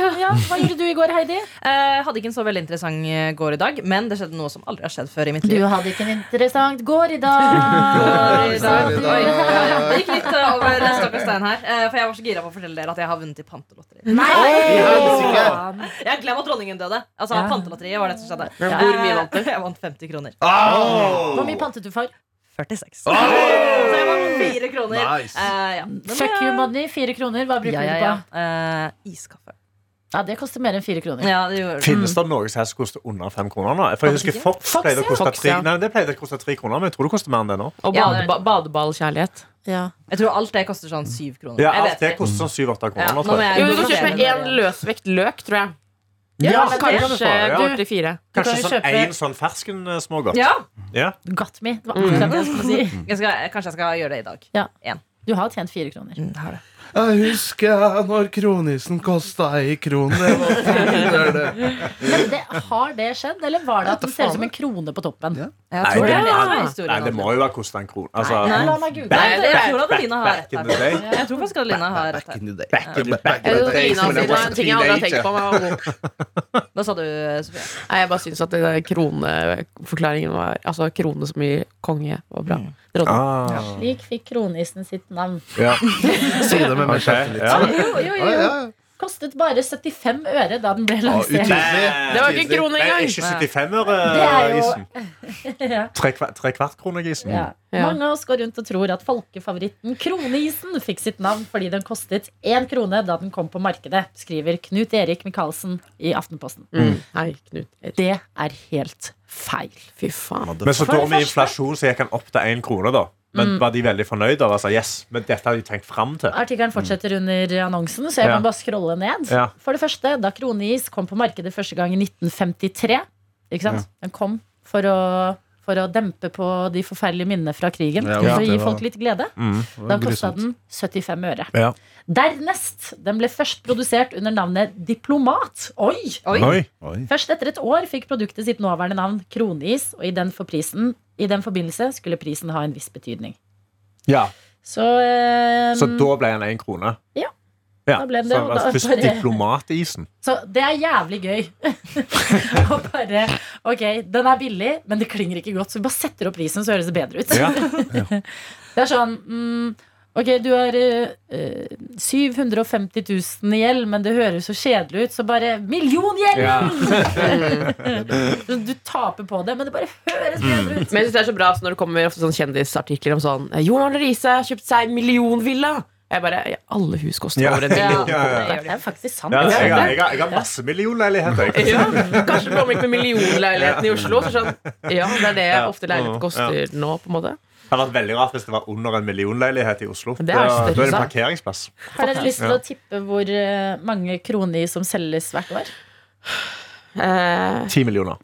Speaker 5: Hva gjorde du i går, Heidi?
Speaker 6: Eh, hadde ikke en så veldig interessant eh, gård i dag, men det skjedde noe som aldri har skjedd før i mitt
Speaker 5: Du
Speaker 6: liv.
Speaker 5: hadde ikke en interessant gård i dag.
Speaker 6: Oi, sant.
Speaker 4: Oi, oi, oi.
Speaker 6: Det gikk litt eh, over stokk og stein her. eh, For jeg var så gira på å fortelle dere at jeg har vunnet i pantelotteriet.
Speaker 5: [LAUGHS] Nei!
Speaker 4: helsike!
Speaker 6: Jeg glem at dronningen døde. Altså,
Speaker 5: Ja.
Speaker 6: Pantelotteriet var det som skjedde.
Speaker 5: Ja.
Speaker 6: Hvor mye vant du? Jeg vant 50 kroner.
Speaker 5: Hvor mye pantet du for?
Speaker 6: 46. Så jeg vant 4 kroner.
Speaker 4: Nice.
Speaker 6: Eh, ja.
Speaker 5: Fuck you money, fire kroner. Hva bruker
Speaker 6: Ja, ja,
Speaker 5: du
Speaker 6: ja.
Speaker 5: på?
Speaker 6: Eh, iskaffe.
Speaker 5: Ja, Det koster mer enn fire kroner.
Speaker 6: Ja, det gjorde
Speaker 3: Mm.
Speaker 6: det.
Speaker 3: Finnes det noe som helst som koster under fem kroner nå? For jeg husker Fox,
Speaker 2: Fox,
Speaker 3: pleide å
Speaker 2: ja.
Speaker 3: koste
Speaker 2: Fox,
Speaker 3: tre,
Speaker 2: ja.
Speaker 3: nei, det pleide å koste tre kroner, men jeg tror det koster mer enn det nå.
Speaker 2: Og
Speaker 6: Ja,
Speaker 2: bade,
Speaker 6: det er-
Speaker 2: ba, badeballkjærlighet.
Speaker 5: Ja.
Speaker 6: Jeg tror alt det koster sånn 7 kroner.
Speaker 3: Ja,
Speaker 6: Jeg
Speaker 3: alt
Speaker 6: vet
Speaker 3: det
Speaker 6: ikke.
Speaker 3: koster altså. sånn syv-åtte
Speaker 6: Ja,
Speaker 3: kroner.
Speaker 6: nå
Speaker 3: tror jeg.
Speaker 6: må jeg
Speaker 2: Jo,
Speaker 6: gå
Speaker 2: du kan
Speaker 6: tilbake
Speaker 2: kjøpe
Speaker 6: igjen.
Speaker 2: én løsvekt løk, tror jeg.
Speaker 3: Ja,
Speaker 5: men
Speaker 3: det kan du
Speaker 2: Kanskje
Speaker 3: få, ja.
Speaker 2: går til fire.
Speaker 3: Kanskje
Speaker 5: kan jo
Speaker 3: sånn
Speaker 5: kjøpe-
Speaker 3: én sånn fersken eh, smågodt.
Speaker 6: Ja,
Speaker 3: Ja.
Speaker 5: You got me. Det var
Speaker 3: Mm.
Speaker 5: akkurat det jeg skulle si.
Speaker 6: jeg skal, kanskje jeg skal gjøre det i dag.
Speaker 5: Du har tjent fire kroner.
Speaker 4: Jeg husker når kronisen kosta ei krone. Det var finere, det.
Speaker 5: Men det, har det skjedd, eller var det at den ser ut som en krone på toppen?
Speaker 4: Ja.
Speaker 6: Jeg
Speaker 3: Nei,
Speaker 6: tror det,
Speaker 3: det-
Speaker 6: er det som er
Speaker 3: Nei,
Speaker 6: historien.
Speaker 3: det må jo være kosta en krone. Altså,
Speaker 5: Nei, la meg google.
Speaker 6: Nei, jeg tror at
Speaker 3: back,
Speaker 6: Adelina har
Speaker 3: back
Speaker 6: rett
Speaker 3: in
Speaker 6: her.
Speaker 3: the day.
Speaker 6: Jeg tror faktisk Adelina har rett
Speaker 4: Back
Speaker 6: her.
Speaker 4: in the day.
Speaker 3: Back in the- back in
Speaker 2: Jeg
Speaker 3: the
Speaker 2: tror
Speaker 3: day,
Speaker 2: Nina
Speaker 3: when I
Speaker 2: sier det
Speaker 3: was
Speaker 2: er
Speaker 3: a
Speaker 2: en ting jeg aldri har tenkt
Speaker 3: teenager.
Speaker 2: på. men jeg var god.
Speaker 6: Hva sa du, Sofie?
Speaker 2: Nei, jeg bare syns at den der kroneforklaringen var Altså krone som i konge var bra. Dronning.
Speaker 3: Ah,
Speaker 5: Slik fikk kronissen sitt navn.
Speaker 3: ja.
Speaker 4: Si det med meg
Speaker 3: Ok,
Speaker 4: kjeften litt.
Speaker 3: ja.
Speaker 4: sånn.
Speaker 5: Jo, [LAUGHS] jo,
Speaker 4: Ja,
Speaker 5: jo.
Speaker 4: ja.
Speaker 5: Kostet bare 75 øre da den ble
Speaker 4: Ja,
Speaker 5: lansert.
Speaker 4: utydelig.
Speaker 2: Det var ikke en krone
Speaker 3: Nei,
Speaker 2: engang!
Speaker 3: ikke
Speaker 5: Det er jo-
Speaker 3: [LAUGHS] 75-øre-isen.
Speaker 5: Ja.
Speaker 3: Tre, kva- tre kvart krone-isen.
Speaker 5: Ja.
Speaker 2: Ja.
Speaker 5: Mange av oss går rundt og tror at folkefavoritten Kroneisen fikk sitt navn fordi den kostet én krone da den kom på markedet, skriver Knut Erik Michaelsen i Aftenposten.
Speaker 2: Mm. Nei, Knut.
Speaker 5: Det er helt feil.
Speaker 2: Fy faen.
Speaker 3: Men så
Speaker 5: For det
Speaker 3: da med
Speaker 5: første- Mm.
Speaker 3: inflasjon så gikk han opp til én krone, da. Men var de veldig fornøyd av altså, yes, men dette hadde de tenkt fram til?
Speaker 5: Artikkelen fortsetter under annonsen, så jeg
Speaker 3: Ja.
Speaker 5: kan bare scrolle ned.
Speaker 3: Ja.
Speaker 5: For det første, da kroneis kom på markedet første gang i 1953 ikke sant? Den kom for å, for å dempe på de forferdelige minnene fra krigen.
Speaker 4: Ja,
Speaker 5: for å
Speaker 4: det
Speaker 5: gi
Speaker 4: var-
Speaker 5: folk litt glede. Da kosta
Speaker 4: Grusomt.
Speaker 5: den 75 øre.
Speaker 3: Ja.
Speaker 5: Dernest, den ble først produsert under navnet Diplomat. Oi!
Speaker 3: Oi.
Speaker 4: Oi.
Speaker 5: Først etter et år fikk produktet sitt nåværende navn Kroneis, og i den, for prisen, i den forbindelse skulle prisen ha en viss betydning.
Speaker 3: Ja.
Speaker 5: Så, eh,
Speaker 3: Så da ble han én krone?
Speaker 5: Ja.
Speaker 3: Ja,
Speaker 5: Da ble den det,
Speaker 3: så han
Speaker 5: og
Speaker 3: var
Speaker 5: da
Speaker 3: først
Speaker 5: bare- [LAUGHS]
Speaker 3: diplomatisen.
Speaker 5: Så det er
Speaker 3: [LAUGHS]
Speaker 5: jævlig gøy. Å bare, ok, Den er billig, men det klinger ikke godt, så vi bare setter opp prisen, så høres det bedre ut.
Speaker 3: Ja.
Speaker 5: [LAUGHS] Det er sånn mm, Ok, du har eh, eh, 750 000 i gjeld, men det høres så kjedelig ut, så bare milliongjeld!
Speaker 3: Ja.
Speaker 5: [LAUGHS] Du taper på det, men det bare høres bedre ut.
Speaker 2: Men jeg synes det er så bra så når det kommer ofte sånn kjendisartikler om sånn Jon Arne Riise har kjøpt seg millionvilla! Jeg bare ja, Alle hus koster
Speaker 3: Ja.
Speaker 2: over en million.
Speaker 3: Ja, ja, ja.
Speaker 5: [LAUGHS] Det er faktisk sant.
Speaker 3: Ja, jeg, har-
Speaker 5: altså.
Speaker 3: jeg, har- jeg har masse millionleiligheter. jeg.
Speaker 2: [LAUGHS] Ja, kanskje du kommer ikke med millionleiligheten i Oslo. Så sånn, ja, Det er det
Speaker 3: [LAUGHS] Ja.
Speaker 2: ofte leilighet koster nå. på en måte
Speaker 3: Det hadde vært veldig rart hvis det var under en millionleilighet i Oslo.
Speaker 2: Det er
Speaker 3: da,
Speaker 2: større,
Speaker 3: da er det
Speaker 2: sant?
Speaker 3: parkeringsplass.
Speaker 5: Har dere lyst til
Speaker 3: Ja.
Speaker 5: å tippe hvor eh, mange kroner som selges hvert år?
Speaker 2: eh,
Speaker 3: Ti millioner.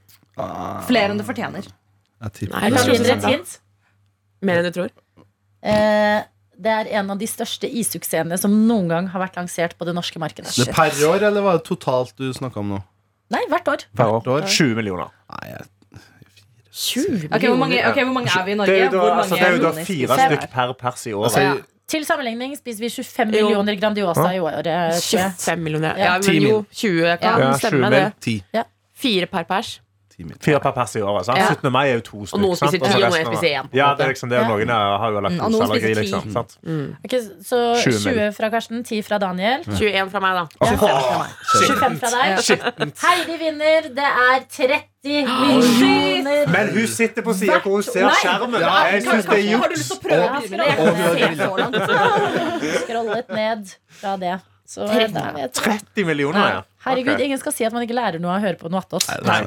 Speaker 6: Flere enn du fortjener.
Speaker 4: Jeg tipper
Speaker 2: Nei,
Speaker 5: Jeg kan gi dere
Speaker 2: kanskje
Speaker 5: et hint.
Speaker 2: Mer enn du tror.
Speaker 5: Eh, det er en av de største issuksessene som noen gang har vært lansert på det norske markedet.
Speaker 4: Det er per år, eller var det totalt du snakka om nå?
Speaker 5: Nei, hvert år.
Speaker 3: Per
Speaker 4: år.
Speaker 3: 20 millioner.
Speaker 4: Nei, jeg-
Speaker 2: 20
Speaker 6: Ok, hvor mange, ok, hvor mange er vi i Norge?
Speaker 3: Det er jo da,
Speaker 6: Hvor mange
Speaker 3: altså, det er jo da
Speaker 6: kroner
Speaker 3: fire
Speaker 6: spiser vi
Speaker 3: stykk
Speaker 6: hver?
Speaker 3: per pers i
Speaker 4: Altså,
Speaker 3: året.
Speaker 5: Ja. Til sammenligning spiser vi 25
Speaker 2: Jo.
Speaker 5: millioner Grandiosa i året. tror jeg.
Speaker 2: 25 Eh, millioner.
Speaker 5: Ja.
Speaker 2: Ja, men jo, 20 kan
Speaker 3: Ja,
Speaker 2: stemme,
Speaker 3: 20
Speaker 2: det.
Speaker 3: mil.
Speaker 4: ti.
Speaker 2: Fire per pers.
Speaker 4: Ti mil.
Speaker 3: Fire per pers i året. Sant?
Speaker 2: Ja.
Speaker 3: 17. mai er jo to
Speaker 2: Og
Speaker 3: stykker.
Speaker 2: noen spiser ti, og noen spiser én.
Speaker 3: Ja, det er liksom det.
Speaker 5: Ja.
Speaker 3: Noen er- har jo
Speaker 6: Mm, og noen
Speaker 3: laktoseallergi,
Speaker 6: spiser ti.
Speaker 3: liksom. Sant?
Speaker 5: Ok, så
Speaker 3: 20
Speaker 5: 20,
Speaker 3: millioner.
Speaker 5: fra Karsten, 10 fra Daniel.
Speaker 2: 21 fra meg, da.
Speaker 5: Ja. 25 fra deg. Heidi vinner. Det er 30 millioner.
Speaker 3: Men hun sitter på sida hvor hun ser
Speaker 5: Nei.
Speaker 3: skjermen. Jeg synes det er
Speaker 6: Har du
Speaker 3: juks.
Speaker 6: lyst til å prøve
Speaker 5: Og-
Speaker 6: bilene? Jeg kan
Speaker 5: og-
Speaker 6: se så langt.
Speaker 5: Skrollet ned fra det. Så eh, da vet jeg.
Speaker 3: 30 millioner, ja.
Speaker 5: Herregud,
Speaker 3: Ok.
Speaker 5: ingen skal si at man ikke lærer noe av å høre på noe attåt.
Speaker 3: Nei.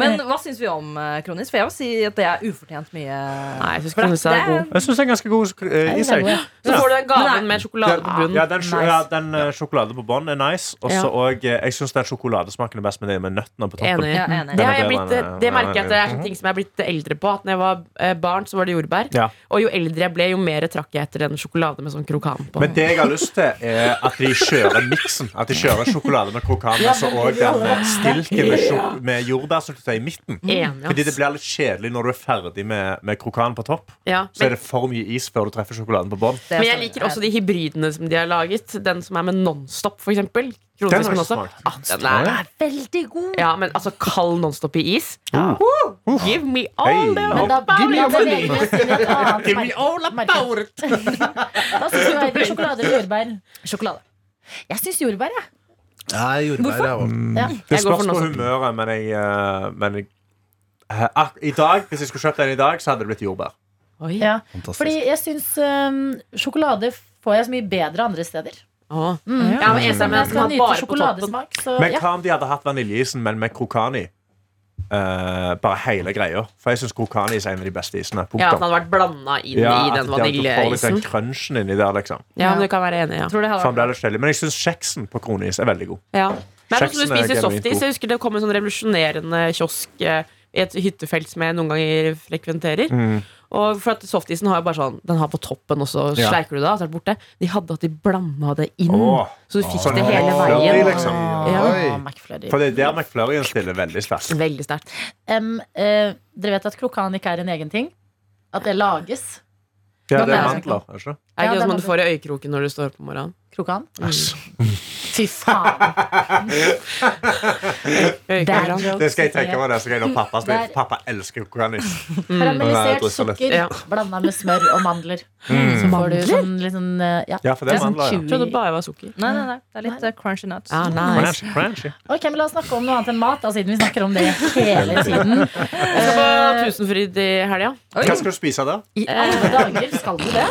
Speaker 6: Men hva syns vi om eh, Kronis? For jeg vil si at det er ufortjent mye.
Speaker 2: Nei, jeg synes Kronestad er god.
Speaker 3: Jeg syns den er ganske god eh, i seg.
Speaker 5: Ja.
Speaker 2: Så får du den
Speaker 6: Men
Speaker 2: gaven med sjokolade på
Speaker 3: Den,
Speaker 2: bunnen.
Speaker 3: ja, den, sj- ja, den eh, sjokolade på bånn er nice. Og så
Speaker 2: Ja.
Speaker 3: og, eh, Jeg syns den sjokoladesmaken er best med det med nøttene på toppen.
Speaker 2: Enig.
Speaker 6: Ja, enig.
Speaker 2: Det, har jeg
Speaker 3: Den er
Speaker 2: blitt, eh,
Speaker 3: bedre enn-
Speaker 2: det merker jeg at det er ting som jeg er blitt eldre på. At når jeg var eh, barn, så var det jordbær.
Speaker 3: Ja.
Speaker 2: Og jo eldre jeg ble, jo mer trakk jeg etter den sjokoladen med sånn krokan på.
Speaker 3: Men det jeg har lyst til, er at de kjører miksen. At de kjører sjokolade med pokalen, så òg den stilken med, sjo- med jordbærsyltetøy i midten.
Speaker 2: Enig,
Speaker 3: Fordi det
Speaker 2: ass.
Speaker 3: blir litt kjedelig når du er ferdig med, med krokanen på topp.
Speaker 2: Ja,
Speaker 3: Så
Speaker 2: men,
Speaker 3: er det for mye is før du treffer sjokoladen på bånn.
Speaker 6: Det er
Speaker 2: men jeg
Speaker 6: sånn-
Speaker 2: liker også de hybridene som de har laget. Den som er med Nonstop, for eksempel.
Speaker 3: Den
Speaker 2: Kronetismen
Speaker 3: er
Speaker 2: også.
Speaker 3: smart.
Speaker 2: Ah, den er
Speaker 5: Veldig god.
Speaker 2: Ja, men altså kald Nonstop i is. Woo! Give me all
Speaker 3: Uh. Hey.
Speaker 2: the
Speaker 5: Men da
Speaker 2: about
Speaker 5: da
Speaker 2: it.
Speaker 5: beveger vi oss inn i [LAUGHS] et annet
Speaker 2: Give me
Speaker 5: marked.
Speaker 2: all about
Speaker 5: [LAUGHS]
Speaker 2: it.
Speaker 5: Hva syns du, Eirik? Sjokolade eller jordbær?
Speaker 6: Sjokolade.
Speaker 5: Jeg syns jordbær, jeg.
Speaker 4: Jeg gjorde meg ræva.
Speaker 5: Mm. Ja.
Speaker 3: Det
Speaker 2: Jeg går for
Speaker 3: spørs på
Speaker 2: noe sånn- sånt.
Speaker 3: humøret, men jeg, eh, men jeg eh, ak I dag, Hvis jeg skulle kjøpt den i dag, så hadde det blitt jordbær.
Speaker 2: Oi.
Speaker 5: Ja. Fordi
Speaker 4: Fantastisk.
Speaker 5: jeg syns um, sjokolade får jeg så mye bedre andre steder.
Speaker 2: Åh.
Speaker 5: Mm.
Speaker 2: Ja, men eneste er med at
Speaker 5: Men jeg
Speaker 2: den
Speaker 5: skal
Speaker 2: har
Speaker 5: nyte
Speaker 2: bare på toppen.
Speaker 5: sjokoladesmak, så
Speaker 3: Men
Speaker 5: ja.
Speaker 3: hva om de hadde hatt vaniljeisen, men med krokan i? Eh, bare hele greia. For jeg syns krokan is er en av de beste isene.
Speaker 2: Ja, at den
Speaker 3: Punktum.
Speaker 2: hadde vært blanda inn i
Speaker 3: at
Speaker 2: den
Speaker 3: de- at du får litt den
Speaker 2: vaniljeisen.
Speaker 3: crunchen inni der, liksom.
Speaker 2: Ja, men du kan være enig, ja.
Speaker 6: Jeg tror det
Speaker 3: For han
Speaker 6: hadde
Speaker 3: ble
Speaker 6: vært
Speaker 3: litt kjedelig. Men jeg syns kjeksen på kronis er veldig god.
Speaker 2: Ja. Men jeg, du
Speaker 3: Kjeksen er
Speaker 2: spiser
Speaker 3: genuint
Speaker 2: softis.
Speaker 3: god.
Speaker 2: Jeg husker det kom en sånn revolusjonerende kiosk eh, i et hyttefelt som jeg noen ganger frekventerer.
Speaker 3: Mm.
Speaker 2: Og for at Softisen har jo bare sånn Den har på toppen, og så
Speaker 3: Ja.
Speaker 2: sleiker du det av. så er det borte. De hadde at de blanda det inn,
Speaker 3: Åh.
Speaker 2: så du fikk
Speaker 3: Sånn
Speaker 2: det hele
Speaker 3: McFlurry,
Speaker 2: veien.
Speaker 3: liksom.
Speaker 2: Ja.
Speaker 5: Å,
Speaker 4: Oi.
Speaker 5: McFlurry.
Speaker 3: For det er der McFlurryen stiller veldig sterkt.
Speaker 2: Veldig sterkt.
Speaker 5: Em, eh, dere vet at krokan ikke er en egen ting? At det lages?
Speaker 3: Ja, det
Speaker 5: det er
Speaker 3: er
Speaker 5: sant.
Speaker 3: mandler, er det ikke?
Speaker 2: Er
Speaker 5: Ja,
Speaker 2: ikke det
Speaker 5: den
Speaker 2: som man
Speaker 5: hadde-
Speaker 2: får i øyekroken når du står opp om morgenen?
Speaker 5: Krokan? Fy faen. Bad
Speaker 2: Øyekroken.
Speaker 5: jokes.
Speaker 3: Det skal jeg tenke på det, så kan jeg nå pappa
Speaker 5: Der-
Speaker 3: spise. Pappa elsker kokanis. Nei,
Speaker 5: Karamellisert
Speaker 3: drysser litt.
Speaker 5: sukker
Speaker 2: Mm. Ja.
Speaker 5: blanda med smør og mandler. Så får du sånn litt sånn eh, ja.
Speaker 3: Mm. Ja, for det er
Speaker 5: Sånn
Speaker 3: mandler, ja.
Speaker 5: chewy.
Speaker 2: Jeg trodde bare det var sukker.
Speaker 6: Nei, nei, nei. Det er litt eh, crunchy nuts.
Speaker 2: Ah, nice.
Speaker 3: Crunchy, crunchy.
Speaker 5: Ok, men La oss snakke om noe annet enn mat, da, siden vi snakker om det hele tiden.
Speaker 2: Jeg skal på Tusenfryd i helga.
Speaker 3: Hva skal du spise der?
Speaker 5: I alle dager skal du det?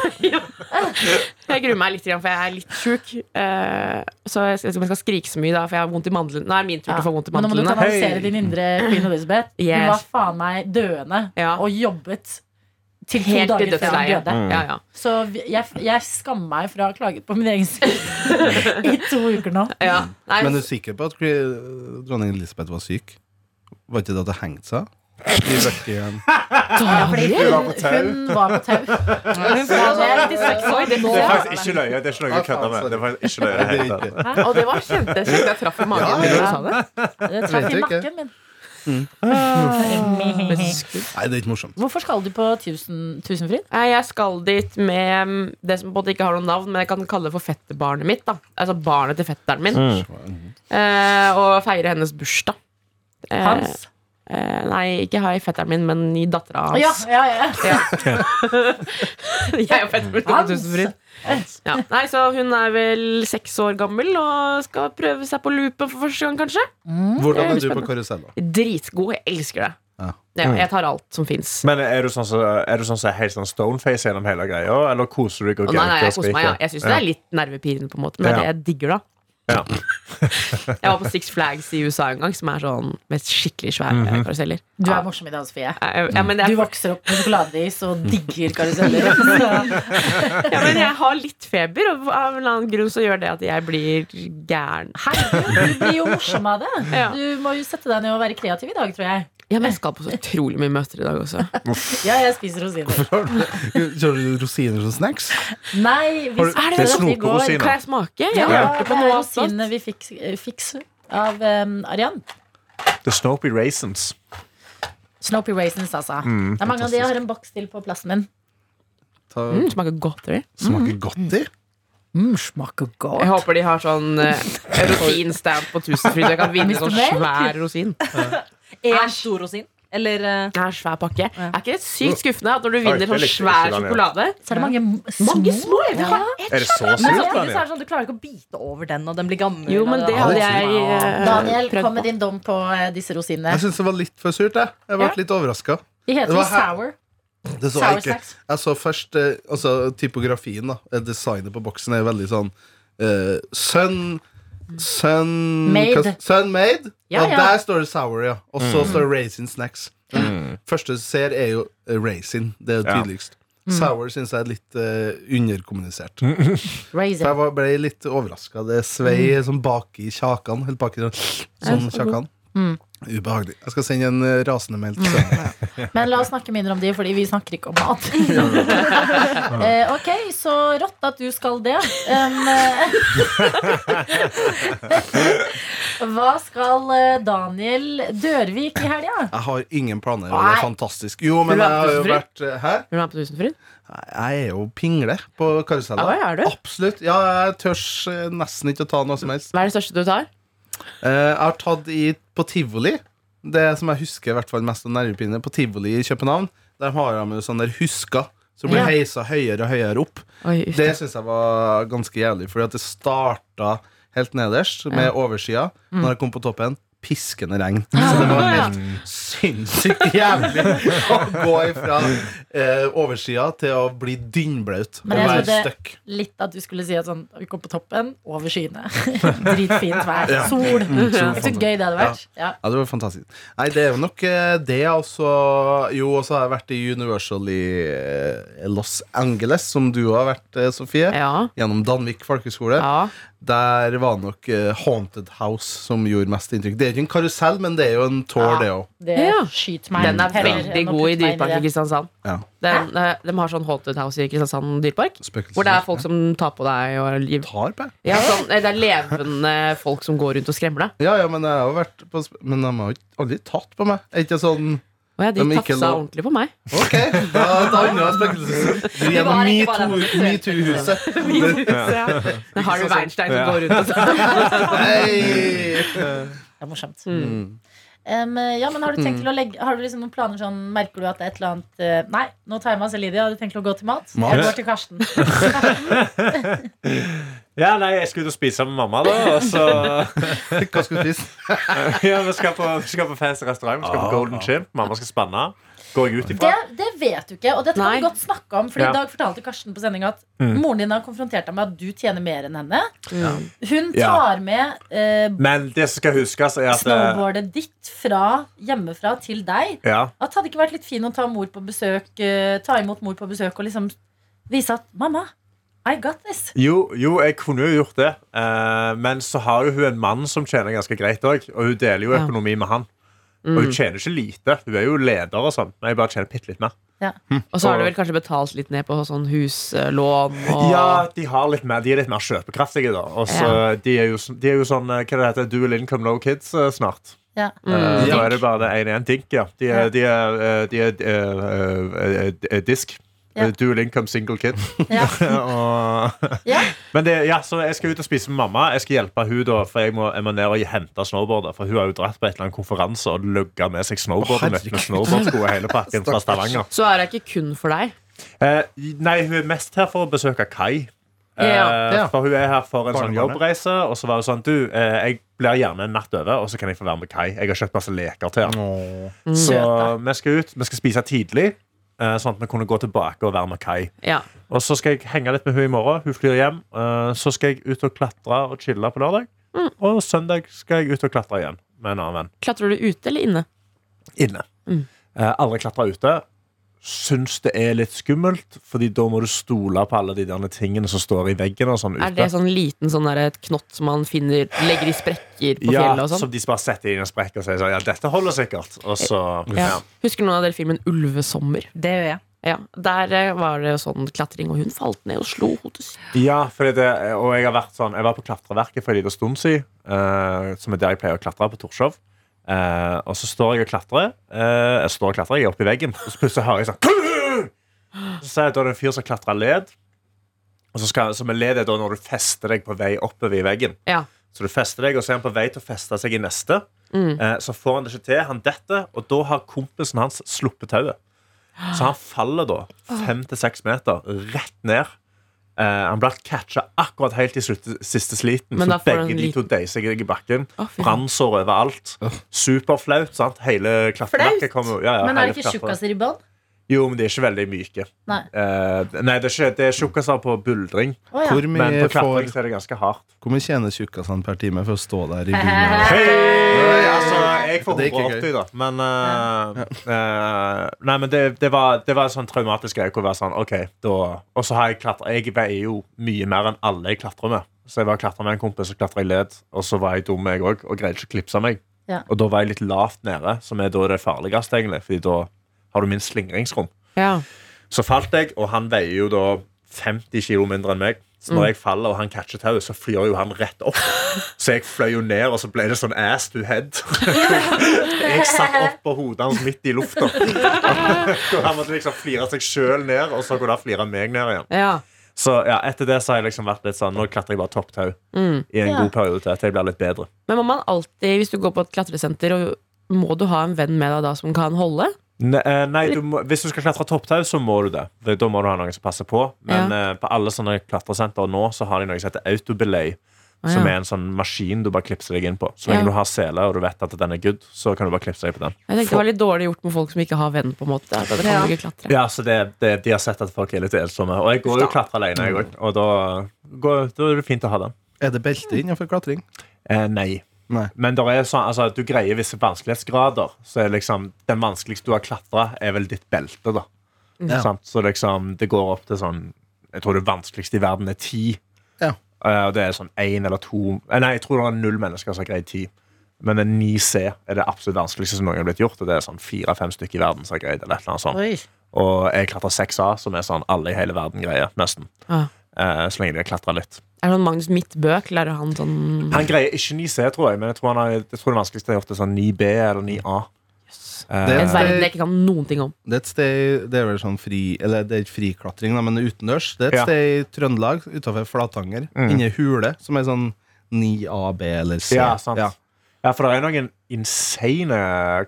Speaker 2: Jeg gruer meg litt, grann, for jeg er litt sjuk. Eh, Så jeg skal, jeg skal skrike så mye, da, for jeg har vondt i mandlene. Nå er det min tur til å få vondt i
Speaker 5: Men nå må du
Speaker 2: mandlene.
Speaker 5: kanalisere
Speaker 3: Hei.
Speaker 5: din indre Queen Elizabeth. Hun
Speaker 2: Yes.
Speaker 5: var faen meg dødende
Speaker 2: Ja.
Speaker 5: og jobbet til to
Speaker 2: Helt til
Speaker 5: dager før hun
Speaker 2: dødsleiet.
Speaker 3: Mm.
Speaker 5: døde.
Speaker 2: Ja, ja.
Speaker 5: Så vi- jeg, jeg skammer meg fra å ha klaget på min egen
Speaker 3: [LAUGHS]
Speaker 5: sykdom i to uker nå.
Speaker 2: ja. Nei,
Speaker 4: Mm. Men er du sikker på at kri- dronning Elisabeth var syk? Var ikke det at det hengte seg? I [LAUGHS] bøkken.
Speaker 5: Hun
Speaker 3: var på tau.
Speaker 5: hun var på
Speaker 3: [LAUGHS]
Speaker 5: tau.
Speaker 6: Hun får altså 96 år. Det
Speaker 3: Det er
Speaker 6: får-
Speaker 3: faktisk ikke løye. Det er ikke noe jeg kødder med. Det er faktisk ikke løye. i det hele tatt.
Speaker 4: [LAUGHS] Det er ikke.
Speaker 2: og det var kjempekjekt. Jeg traff i magen
Speaker 4: Ja,
Speaker 2: min da du
Speaker 4: ja.
Speaker 2: sa det.
Speaker 5: Det traff i
Speaker 4: Vet du ikke?
Speaker 5: nakken min. [LAUGHS] Eh,
Speaker 2: Men skutt.
Speaker 4: Nei, det er ikke morsomt.
Speaker 5: Hvorfor skal du på tusen, Tusenfryd?
Speaker 2: Nei, Jeg skal dit med mm, det som på en måte ikke har noe navn, men jeg kan kalle det for fettebarnet mitt. da Altså barnet til fetteren min.
Speaker 4: Mm.
Speaker 2: Eh, og feire hennes bursdag. Eh,
Speaker 5: Hans?
Speaker 2: Eh, nei, ikke hei fetteren min, men i dattera
Speaker 5: Ja,
Speaker 2: hans.
Speaker 5: ja, ja.
Speaker 2: [LAUGHS] Jeg og fetteren min skal på Tusenfryd. Ja. Nei, så hun er vel seks år gammel og skal prøve seg på loopen for første gang, kanskje.
Speaker 4: Hvordan er du på karusell, da?
Speaker 2: Dritgod. Jeg elsker det.
Speaker 4: Ja.
Speaker 2: Ja, jeg tar alt som fins.
Speaker 3: Men er du sånn som er, du sånn som er helt sånn stoneface gjennom hele greia, eller koser du deg og
Speaker 2: Å, Nei, nei,
Speaker 3: gauker og
Speaker 2: jeg koser meg. Ja.
Speaker 3: skriker?
Speaker 2: Jeg syns det er litt nervepirrende, på en måte, men det er det jeg digger, da.
Speaker 3: Ja.
Speaker 2: [LAUGHS] Jeg var på Six Flags i USA en gang, som er sånn med skikkelig svære karuseller.
Speaker 5: Du er morsom i dag, Sofie.
Speaker 2: Ja, ja, men, det er,
Speaker 5: Du
Speaker 2: Mm.
Speaker 5: vokser opp med sjokoladeis og digger
Speaker 2: [LAUGHS]
Speaker 5: karuseller. Så
Speaker 2: ja, men jeg har litt feber, og av en eller annen grunn så gjør det at jeg blir gæren.
Speaker 5: Herregud, du blir jo morsom av det.
Speaker 2: Ja.
Speaker 5: Du må jo sette deg ned og være kreativ i dag, tror jeg.
Speaker 2: Ja, men jeg skal på så utrolig mye møter i dag også.
Speaker 5: Ja, jeg spiser rosiner.
Speaker 4: Kjører du rosiner som snacks?
Speaker 5: Nei, vi
Speaker 3: Har du- det
Speaker 5: spiste
Speaker 3: er
Speaker 5: dette i går.
Speaker 3: snokerosiner.
Speaker 2: Kan jeg smake? Jeg
Speaker 5: Ja,
Speaker 2: hørte
Speaker 5: det
Speaker 2: på
Speaker 5: er
Speaker 2: noe
Speaker 5: rosinene
Speaker 2: sånt.
Speaker 5: vi fikk eh, fiks av um, Arian.
Speaker 3: The Snopy Raisins.
Speaker 5: Snopy Raisins, altså. det er mange av de jeg har en boks til på plassen min.
Speaker 4: Ta,
Speaker 2: Mm, smaker godt. Eller?
Speaker 4: smaker godt i?
Speaker 5: Mm, smaker
Speaker 2: Jeg
Speaker 5: godt.
Speaker 2: håper de har sånn eh, rosinstand på Tusenfryd. Jeg kan vinne
Speaker 5: Mr.
Speaker 2: sånn
Speaker 5: Melk?
Speaker 2: svær rosin.
Speaker 6: En stor rosin. Eller eh,
Speaker 2: Det er en svær pakke. Er ikke det sykt skuffende at når du vinner
Speaker 3: jeg
Speaker 2: sånn
Speaker 3: likte
Speaker 2: svær
Speaker 3: ikke den, ja.
Speaker 2: sjokolade
Speaker 5: Så er det mange m- små.
Speaker 2: Mange små! Jeg vil ha
Speaker 3: Er det så
Speaker 6: Men
Speaker 3: surt,
Speaker 6: samtidig så er
Speaker 3: Daniel?
Speaker 6: det sånn du klarer ikke å bite over den, og den blir gammel.
Speaker 2: Jo, men
Speaker 6: og-
Speaker 2: det hadde jeg eh,
Speaker 5: Daniel,
Speaker 2: prøvd
Speaker 5: kom med
Speaker 2: på.
Speaker 5: din dom på eh, disse rosinene.
Speaker 4: Jeg syns det var litt for surt. Jeg, jeg ble
Speaker 5: Ja.
Speaker 4: litt overraska.
Speaker 5: De
Speaker 4: Altså,
Speaker 5: heter
Speaker 4: Det var
Speaker 5: jo
Speaker 4: her-
Speaker 5: sour.
Speaker 4: Det så
Speaker 5: Sour
Speaker 4: jeg ikke.
Speaker 5: snacks.
Speaker 4: Jeg så først eh, altså, typografien, da. Eh, Designet på boksen er veldig sånn eh, Sun Sun
Speaker 5: Made.
Speaker 4: hva- Sun made.
Speaker 5: Ja,
Speaker 4: og
Speaker 5: ja. Mm.
Speaker 4: der står det sour, ja. Og så står det raisin snacks. Første du ser, er jo eh, raisin. Det er jo
Speaker 3: Ja.
Speaker 4: tydeligst.
Speaker 5: Mm.
Speaker 4: Sour syns jeg er litt eh, underkommunisert. For
Speaker 5: Raisin.
Speaker 4: jeg var, ble
Speaker 2: Mm. Mm.
Speaker 4: litt overraska. Det svei sånn bak i kjakan. Helt bak i sånn, sånn kjakan.
Speaker 7: Ubehagelig. Jeg skal sende en eh, rasende meldt sønn.
Speaker 5: Men la oss snakke mindre om de, fordi vi snakker ikke om
Speaker 4: [LAUGHS]
Speaker 5: mat. [LAUGHS] eh, ok, så rått at du skal det. Um, eh, [LAUGHS] Hva skal eh, Daniel Dørvik i helga?
Speaker 4: Jeg har ingen planer, og det er fantastisk. Jo, men
Speaker 2: Du
Speaker 4: jeg
Speaker 2: er
Speaker 4: har jo vært eh,
Speaker 2: tusenfryd?
Speaker 4: Hæ?
Speaker 2: Vil du være med på Tusenfryd?
Speaker 4: Jeg er jo pingle på karusellen.
Speaker 2: Ja, er du?
Speaker 4: Absolutt. Ja, jeg tør eh, nesten ikke å ta noe som helst.
Speaker 2: Hva er det største du tar?
Speaker 4: Eh, Jeg har tatt i, på tivoli Det som jeg husker i hvert fall mest av nervepine På tivoli i København Der har de jo sånne der husker Som blir
Speaker 2: Ja.
Speaker 4: heisa høyere og høyere opp
Speaker 2: Oi, uff.
Speaker 4: Det synes jeg var ganske jævlig Fordi at det startet helt nederst Med oversida Når jeg kom på toppen Piskende regn Så det var helt sinnssykt jævlig Å gå ifra eh, oversida Til å bli dynnblaut Og
Speaker 5: Men jeg
Speaker 4: være
Speaker 5: trodde-
Speaker 4: støkk
Speaker 5: Litt at du skulle si at sånn, vi kom på toppen, over skyene. [LAUGHS] Dritfint vær.
Speaker 4: Ja.
Speaker 5: Sol. Så
Speaker 4: fantastisk.
Speaker 5: gøy det hadde vært. Ja.
Speaker 4: Ja, det var fantastisk. Nei, det er jo nok eh, det, altså. Jo, og så har jeg vært i Universal i eh, Los Angeles, som du har vært, eh, Sofie.
Speaker 2: Ja.
Speaker 4: Gjennom Danvik folkehøgskole.
Speaker 2: ja.
Speaker 4: Der var det nok eh, Haunted House som gjorde mest inntrykk. Det er ikke en karusell, men det er jo en tour,
Speaker 5: Ja.
Speaker 4: det òg.
Speaker 5: Det
Speaker 2: Ja.
Speaker 5: skyter meg.
Speaker 2: Den er
Speaker 5: heller
Speaker 2: veldig
Speaker 5: enn å
Speaker 2: god i
Speaker 5: putte meg inn
Speaker 2: Dyreparken i
Speaker 5: det.
Speaker 2: Kristiansand.
Speaker 4: Ja.
Speaker 2: Den, eh, de har sånn Haunted House i Kristiansand dyrepark.
Speaker 4: Spøkelser.
Speaker 2: Hvor det er folk som tar på deg og
Speaker 4: Ja. Tar på.
Speaker 2: ja, sånn, eh, Det er levende folk som går rundt og skremmer deg.
Speaker 4: Ja, ja, men jeg har jo vært på sp- Men de har jo ikke- aldri tatt på meg. Er ikke sånn
Speaker 2: Og jeg,
Speaker 4: Men
Speaker 2: de
Speaker 4: Mikkel,
Speaker 2: tafsa
Speaker 4: nå-
Speaker 2: ordentlig på meg.
Speaker 4: Ok, da da unner jeg spøkelser. Gjennom
Speaker 6: var ikke bare
Speaker 4: metoo- metoo-huset.
Speaker 2: Det har du Weinstein som går rundt og
Speaker 4: Hei!
Speaker 5: Det er morsomt. Em, ja, men har du tenkt til å legge Har du liksom noen planer sånn Merker du at det er et eller annet eh, Nei, nå tar jeg meg av Celidia. Har du tenkt til å gå til mat?
Speaker 4: Mat?
Speaker 5: Jeg går til [LAUGHS] Karsten.
Speaker 3: Ja, nei, jeg skal ut og spise med mamma, da. Og så
Speaker 4: Hva skal vi spise?
Speaker 3: [LAUGHS] ja, Vi skal på, vi skal på fancy restaurant. Vi skal på Golden Chimp. Mamma skal spanne. Går jeg ut
Speaker 5: Det,
Speaker 3: ifra?
Speaker 5: det vet du ikke, og dette kan
Speaker 2: Nei.
Speaker 5: vi godt snakke om. Fordi
Speaker 3: Ja. Mm.
Speaker 5: I dag fortalte Karsten på sending at moren din har konfrontert deg med at du tjener mer enn henne. Hun
Speaker 3: Ja.
Speaker 5: tar med eh,
Speaker 3: Men det som skal huskes, er at eh,
Speaker 5: snowboardet ditt fra hjemmefra til deg.
Speaker 3: ja,
Speaker 5: At hadde det ikke vært litt fin å ta, mor på besøk, eh, ta imot mor på besøk og liksom vise at 'mamma, I got this'.
Speaker 3: jo, jo, jeg kunne jo gjort det. eh, men så har jo hun en mann som tjener ganske greit òg, og hun deler jo
Speaker 2: Ja.
Speaker 3: økonomi med han. Og hun tjener ikke lite. Hun er jo leder og sånn, men jeg bare tjener bitte litt mer.
Speaker 2: Og så har du vel kanskje betalt litt ned på sånn huslån og
Speaker 3: Ja, de, har litt mer, de er litt mer kjøpekraftige, da. Og så de, er jo, sånn- de er jo sånn eh, Hva det heter Dual income, no kids eh, snart.
Speaker 5: Ja. Mm.
Speaker 3: Eh, Da
Speaker 4: Dink.
Speaker 3: er det bare det ene igjen. Dink, ja. De er,
Speaker 5: Ja.
Speaker 3: de er, eh, de er eh, eh, eh, disk.
Speaker 5: Ja.
Speaker 3: Eh, Dual income, single kid.
Speaker 5: [LAUGHS] Ja.
Speaker 3: [LAUGHS] og,
Speaker 5: Ja.
Speaker 3: men det, ja, så jeg skal ut og spise med mamma. Jeg skal hjelpe hun da, for jeg må, jeg må ned og hente snowboardet. For hun har jo dratt på et eller annet konferanse og lugga med seg snowboardet mitt med snowboardsko og hele pakken fra Stavanger.
Speaker 2: Så er det ikke kun for deg.
Speaker 3: Eh, nei, hun er mest her for å besøke Kai. Eh,
Speaker 2: Ja.
Speaker 4: Ja.
Speaker 3: For hun er her for en sånn
Speaker 4: Barnebarnet.
Speaker 3: jobbreise. Og så var hun sånn Du, eh, jeg blir gjerne en natt over, og så kan jeg få være med Kai. Jeg har kjøpt masse leker til han. Så vi skal ut. Vi skal spise tidlig, eh, sånn at vi kunne gå tilbake og være med Kai.
Speaker 2: Ja.
Speaker 3: Og så skal jeg henge litt med hun i morgen. Hun flyr hjem. Eh, så skal jeg ut og klatre og chille på lørdag.
Speaker 2: Mm.
Speaker 3: Og søndag skal jeg ut og klatre igjen med en annen venn.
Speaker 2: Klatrer du ute eller inne?
Speaker 3: Inne. Eh, alle klatrer ute. Syns det er litt skummelt, Fordi da må du stole på alle de derne tingene som står i veggen. og sånn ute.
Speaker 2: Er det sånn liten sånn der, et knott som man finner, legger i sprekker på
Speaker 3: ja,
Speaker 2: fjellet og sånn?
Speaker 3: som de bare setter inn en sprekk og sier sånn, ja, dette holder sikkert. Og så, ja.
Speaker 2: Ja. Husker noen av dere filmen Ulvesommer?
Speaker 6: Det gjør jeg.
Speaker 2: Ja, Der eh, var det sånn klatring, og hun falt ned og slo hodet sitt.
Speaker 3: ja fordi det, og jeg har vært sånn, jeg var på klatreverket for en liten stund siden, eh, som er der jeg pleier å klatre på Torshov. Eh, og så står jeg og klatrer. eh, jeg står og klatrer, jeg er oppe i veggen, og så plutselig hører jeg sånn «Kuh!» Så ser jeg at da er det en fyr som klatrer led. Og så, skal, så med led er da når du fester deg på vei oppover i veggen.
Speaker 2: Ja.
Speaker 3: Så du fester deg, og så er han på vei til å feste seg i neste.
Speaker 2: Mm.
Speaker 3: Eh, så får han det ikke til, han detter, og da har kompisen hans sluppet tauet. Så han faller da fem til seks meter rett ned. Eh, han blir catcha akkurat helt i slutte, siste sliten,
Speaker 2: Men da
Speaker 3: så
Speaker 2: får han
Speaker 3: begge de
Speaker 2: liten-
Speaker 3: to deiser seg i bakken.
Speaker 2: Å, fy faen.
Speaker 3: Brannsår overalt. Superflaut. sant? Hele klatreverket kommer jo ja, ja,
Speaker 5: Men er
Speaker 3: hele
Speaker 5: det ikke
Speaker 3: klatre-
Speaker 5: tjukkasribban?
Speaker 3: Jo, men de er ikke veldig myke.
Speaker 5: Nei.
Speaker 3: Eh, nei, det er, ikke, det er tjukkaser på buldring,
Speaker 5: Å ja.
Speaker 4: Hvor
Speaker 3: men
Speaker 4: mye
Speaker 3: på klatring liksom.
Speaker 4: får
Speaker 3: så er det ganske hardt.
Speaker 4: Hvor mye tjener tjukkasene per time for å stå der i
Speaker 2: [LAUGHS]
Speaker 4: bunnen?
Speaker 3: Hei! Altså, jeg får
Speaker 4: Det er ikke
Speaker 3: 180, da. Men, eh, eh, nei, men det, det, var, det var en sånn traumatisk greie. hvor jeg var Sånn, ok, da, og så har jeg klatra. Jeg veier jo mye mer enn alle jeg klatrer med. Så jeg var klatra med en kompis, og klatra i led. Og så var jeg dum, jeg òg, og greide ikke å klipse meg.
Speaker 5: Ja.
Speaker 3: Og da var jeg litt lavt nede, som er da det farligste, egentlig. Fordi da har du minst slingringsrom.
Speaker 2: Ja.
Speaker 3: Så falt jeg, og han veier jo da 50 kilo mindre enn meg. Så når jeg faller og han catcher tauet, så flyr jo han rett opp. Så jeg fløy jo ned, og så ble det sånn ass to head. [LAUGHS] Jeg satt oppå hodet hans midt i lufta. [LAUGHS] Og han måtte liksom flire seg sjøl ned, og så kunne han flire meg ned igjen.
Speaker 2: ja.
Speaker 3: Så ja, etter det så har jeg liksom vært litt sånn Nå klatrer jeg bare topptau i en
Speaker 5: Ja.
Speaker 3: god periode til at jeg blir litt bedre.
Speaker 2: Men må man alltid, hvis du går på et klatresenter, og- må du ha en venn med deg da som kan holde?
Speaker 3: Ne- eh, Nei, du må, Hvis du skal klatre topptau, så må du det. For Da må du ha noen som passer på. Men eh, på alle sånne klatresenter nå Så har de noe som heter autobelay.
Speaker 2: Å,
Speaker 3: Som
Speaker 2: ja.
Speaker 3: er en sånn maskin du bare klipser deg inn på. Så
Speaker 2: Ja.
Speaker 3: lenge du har sele og du vet at den er good, så kan du bare klipse deg på den.
Speaker 2: Jeg tenkte Det var litt dårlig gjort med folk som ikke har venn. på en måte at det kan
Speaker 6: Ja.
Speaker 2: du ikke klatre
Speaker 3: Ja, så det, det, De har sett at folk er litt ensomme. Og jeg går jo og klatrer alene, jeg òg. Og da, går, da er det fint å ha den.
Speaker 7: Er det belte innenfor klatring?
Speaker 3: Eh, nei.
Speaker 7: Nei.
Speaker 3: Men der er sånn, altså, du greier visse vanskelighetsgrader. Så er liksom, den vanskeligste du har klatra, er vel ditt belte. da
Speaker 7: Ja.
Speaker 3: sant? Så liksom, det går opp til sånn Jeg tror det vanskeligste i verden er ti.
Speaker 7: Ja.
Speaker 3: Eh, og det er sånn én eller to eh, Nei, jeg tror det er null mennesker som har greid ti. Men en 9C er det absolutt vanskeligste som noen har blitt gjort. Og det er sånn fire-fem stykker i verden som har greid det. Eller et eller annet sånt.
Speaker 5: Oi.
Speaker 3: Og jeg klatrer 6A, som er sånn alle i hele verden greier, nesten.
Speaker 2: Ah.
Speaker 3: Eh, så lenge de har klatra litt.
Speaker 2: Er det sånn Magnus Midtbø? Klarer han sånn
Speaker 3: Han greier ikke 9C, tror jeg, men jeg tror, han har, jeg tror det vanskeligste er ofte sånn 9B eller 9A. Eh,
Speaker 7: Det er
Speaker 2: En verden
Speaker 7: det-
Speaker 2: jeg ikke kan noen ting om.
Speaker 7: Det er et sted Det er vel sånn fri Eller det er ikke friklatring, da, men utendørs. Det er et
Speaker 3: Ja. Mm.
Speaker 7: sted i Trøndelag, utenfor Flatanger, inni hule, som er sånn 9AB eller C.
Speaker 3: Ja, sant. Ja. for det er noen insane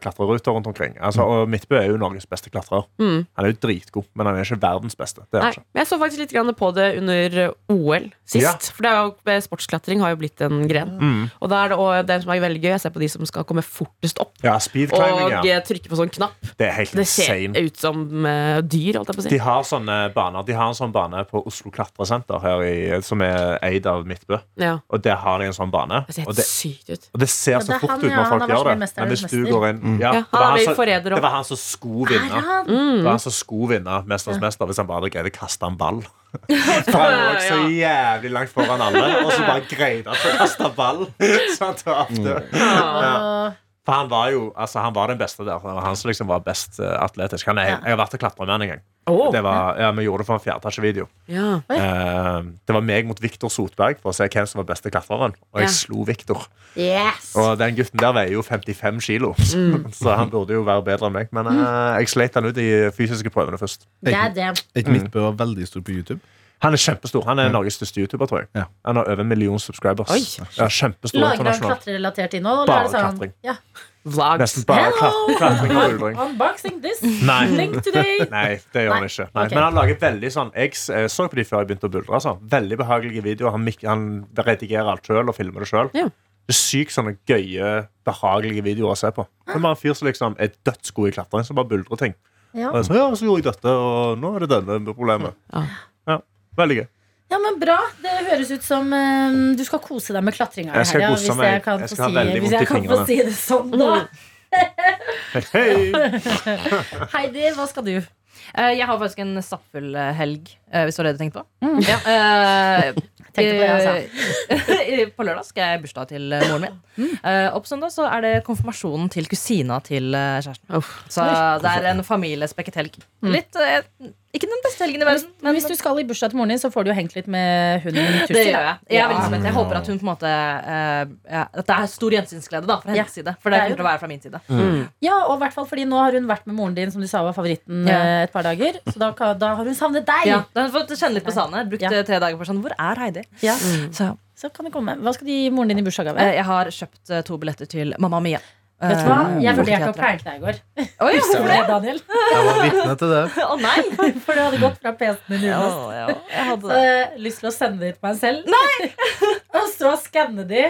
Speaker 3: klatreruter rundt omkring. Altså, og Midtbø er jo Norges beste klatrer. Han er jo dritgod, men han er ikke verdens beste. Det
Speaker 2: Mm.
Speaker 3: er
Speaker 2: Nei,
Speaker 3: han ikke.
Speaker 2: men Jeg så faktisk litt grann på det under eh, OL sist.
Speaker 3: Ja. Mm.
Speaker 2: For det er jo, sportsklatring har jo blitt en gren. Og da er det også det som er veldig gøy. Jeg ser på de som skal komme fortest opp.
Speaker 3: Ja, speed climbing,
Speaker 2: Og
Speaker 3: ja.
Speaker 2: eh, trykke på sånn knapp.
Speaker 3: Det er helt
Speaker 2: Det ser
Speaker 3: insane.
Speaker 2: ut som eh, dyr, holdt jeg på å si.
Speaker 3: De har sånne baner De har en sånn bane på Oslo Klatresenter, her i, som er eid av Midtbø.
Speaker 2: Ja,
Speaker 3: Og der har de en sånn bane.
Speaker 2: Altså, det ser helt
Speaker 3: Og det,
Speaker 2: sykt ut.
Speaker 3: og det ser
Speaker 5: Ja,
Speaker 3: så
Speaker 5: det er
Speaker 3: fort
Speaker 5: han,
Speaker 3: ut
Speaker 5: ja.
Speaker 3: når
Speaker 5: Han
Speaker 3: folk
Speaker 5: er
Speaker 3: gjør det.
Speaker 5: varslet mester,
Speaker 3: Men hvis du
Speaker 5: mester.
Speaker 3: går inn ja,
Speaker 2: Mm. Ja,
Speaker 3: det, var
Speaker 2: han er
Speaker 3: han
Speaker 2: jo
Speaker 3: som,
Speaker 2: forræder
Speaker 3: det
Speaker 2: også. Mm.
Speaker 3: var han som skulle vinne. Det var han som skulle vinne Mesternes mester hvis han bare hadde greid å kaste en
Speaker 5: [LAUGHS]
Speaker 3: ball. For han lå så jævlig langt foran alle, og så bare greide han å kaste ball. [LAUGHS] Så han
Speaker 2: Mm.
Speaker 3: tapte.
Speaker 5: Og-
Speaker 3: For han var jo altså, han var den beste der. Det var han som liksom var best eh, atletisk. Han er, jeg har vært og klatra med han en gang.
Speaker 2: Åh.
Speaker 3: Det var, ja, vi gjorde det for en fjerdeetasjevideo.
Speaker 2: Ja.
Speaker 3: Eh, det var meg mot Viktor Sotberg for å se hvem som var beste klatreren. Og jeg
Speaker 2: Ja.
Speaker 3: slo Viktor.
Speaker 5: Yes!
Speaker 3: Og den gutten der veier jo 55 kilo, [LAUGHS] så han burde jo være bedre enn meg. Men eh, jeg sleit han ut i fysiske prøvene først.
Speaker 5: God damn.
Speaker 7: Er ikke
Speaker 3: Mm.
Speaker 7: Midtbø var veldig stor på YouTube?
Speaker 3: Han er kjempestor. Han er Norges største YouTuber, tror jeg.
Speaker 7: Ja.
Speaker 3: Han har over en million subscribers.
Speaker 2: Oi.
Speaker 3: Ja, kjempestor
Speaker 5: Lager han
Speaker 3: internasjonal.
Speaker 5: klatrerelatert innhold?
Speaker 3: Bare
Speaker 5: eller er det sånn-
Speaker 3: klatring.
Speaker 5: Ja.
Speaker 2: Vlogs.
Speaker 3: Nesten bare
Speaker 5: Hello!
Speaker 3: klat- klatring og buldring.
Speaker 5: Unboxing this
Speaker 3: Nei.
Speaker 5: thing today.
Speaker 3: Nei, det gjør han ikke. Nei.
Speaker 5: Ok.
Speaker 3: Men han lager veldig sånn Jeg s- eh, så på de før jeg begynte å buldre. Altså. Veldig behagelige videoer. Han, mik- han redigerer alt sjøl og filmer det sjøl.
Speaker 2: Ja.
Speaker 3: Det er sykt sånne gøye, behagelige videoer å se på. Det er bare en fyr som liksom er dødsgod i klatring, som bare buldrer ting.
Speaker 5: Ja.
Speaker 3: Og så, ja, så gjorde jeg dette, og nå er det denne problemet.
Speaker 2: Ja.
Speaker 3: Ja, Veldig gøy.
Speaker 5: ja, men bra. Det høres ut som eh, du skal kose deg med klatringa i
Speaker 3: Jeg skal
Speaker 5: helga.
Speaker 3: kose
Speaker 5: Hvis
Speaker 3: meg.
Speaker 5: jeg kan
Speaker 3: Jeg
Speaker 5: få
Speaker 3: skal ha
Speaker 5: si,
Speaker 3: veldig
Speaker 5: hvis
Speaker 3: vondt i
Speaker 5: jeg kan få
Speaker 3: fingrene. Mm.
Speaker 5: si det sånn, da.
Speaker 3: Hei!
Speaker 5: Heidi, hva skal du?
Speaker 6: Eh, jeg har faktisk en stappfull eh, helg, eh, hvis det var det du tenkte på. Ja, eh,
Speaker 5: Mm. [LAUGHS] Tenkte på det, altså.
Speaker 6: eh, [LAUGHS] på lørdag skal jeg i bursdag til eh, moren min.
Speaker 5: Mm.
Speaker 6: Eh, og på søndag så er det konfirmasjonen til kusina til eh, kjæresten.
Speaker 2: Uff.
Speaker 6: Så det er en familiespekket helg. Litt, eh, ikke den beste helgen i verden,
Speaker 5: Mm. Men hvis du skal i bursdag til moren din, så får du jo hengt litt med hunden
Speaker 6: Det
Speaker 5: Tussi.
Speaker 6: gjør jeg. Jeg, er
Speaker 5: Ja.
Speaker 6: veldig spent. jeg håper at hun på en måte eh, ja, At det er stor gjensynsglede da, fra hennes side. For det
Speaker 5: Det er jo
Speaker 6: kommer til å være fra min side.
Speaker 5: Ja, og i hvert fall fordi nå har hun vært med moren din, som du sa var favoritten,
Speaker 6: Ja.
Speaker 5: eh, et par dager. Så da, kan- da har hun savnet deg!
Speaker 6: Ja, da har hun fått kjenne litt på Sane. Brukt
Speaker 5: Ja. Mm.
Speaker 6: eh, tre dager på sånn Hvor er Heidi?
Speaker 5: Ja.
Speaker 6: Så
Speaker 5: Så kan det komme. Hva skal du gi moren din i bursdagsgave?
Speaker 6: eh, jeg har kjøpt eh, to billetter til Mamma Mia.
Speaker 5: Vet du hva?
Speaker 6: eh,
Speaker 5: Jeg vurderte å
Speaker 6: Folketeatret.
Speaker 5: pranke deg i går.
Speaker 6: Oi,
Speaker 5: Husker du
Speaker 6: hvorfor det?
Speaker 5: det, Daniel?
Speaker 7: Jeg var vitne til det.
Speaker 5: [LAUGHS]
Speaker 6: Å nei!
Speaker 5: For det hadde gått fra PC-en din.
Speaker 6: Ja,
Speaker 5: Jonas.
Speaker 6: ja, [LAUGHS] jeg hadde det.
Speaker 5: Eh, lyst til å sende det til meg selv. [LAUGHS] og så skanne de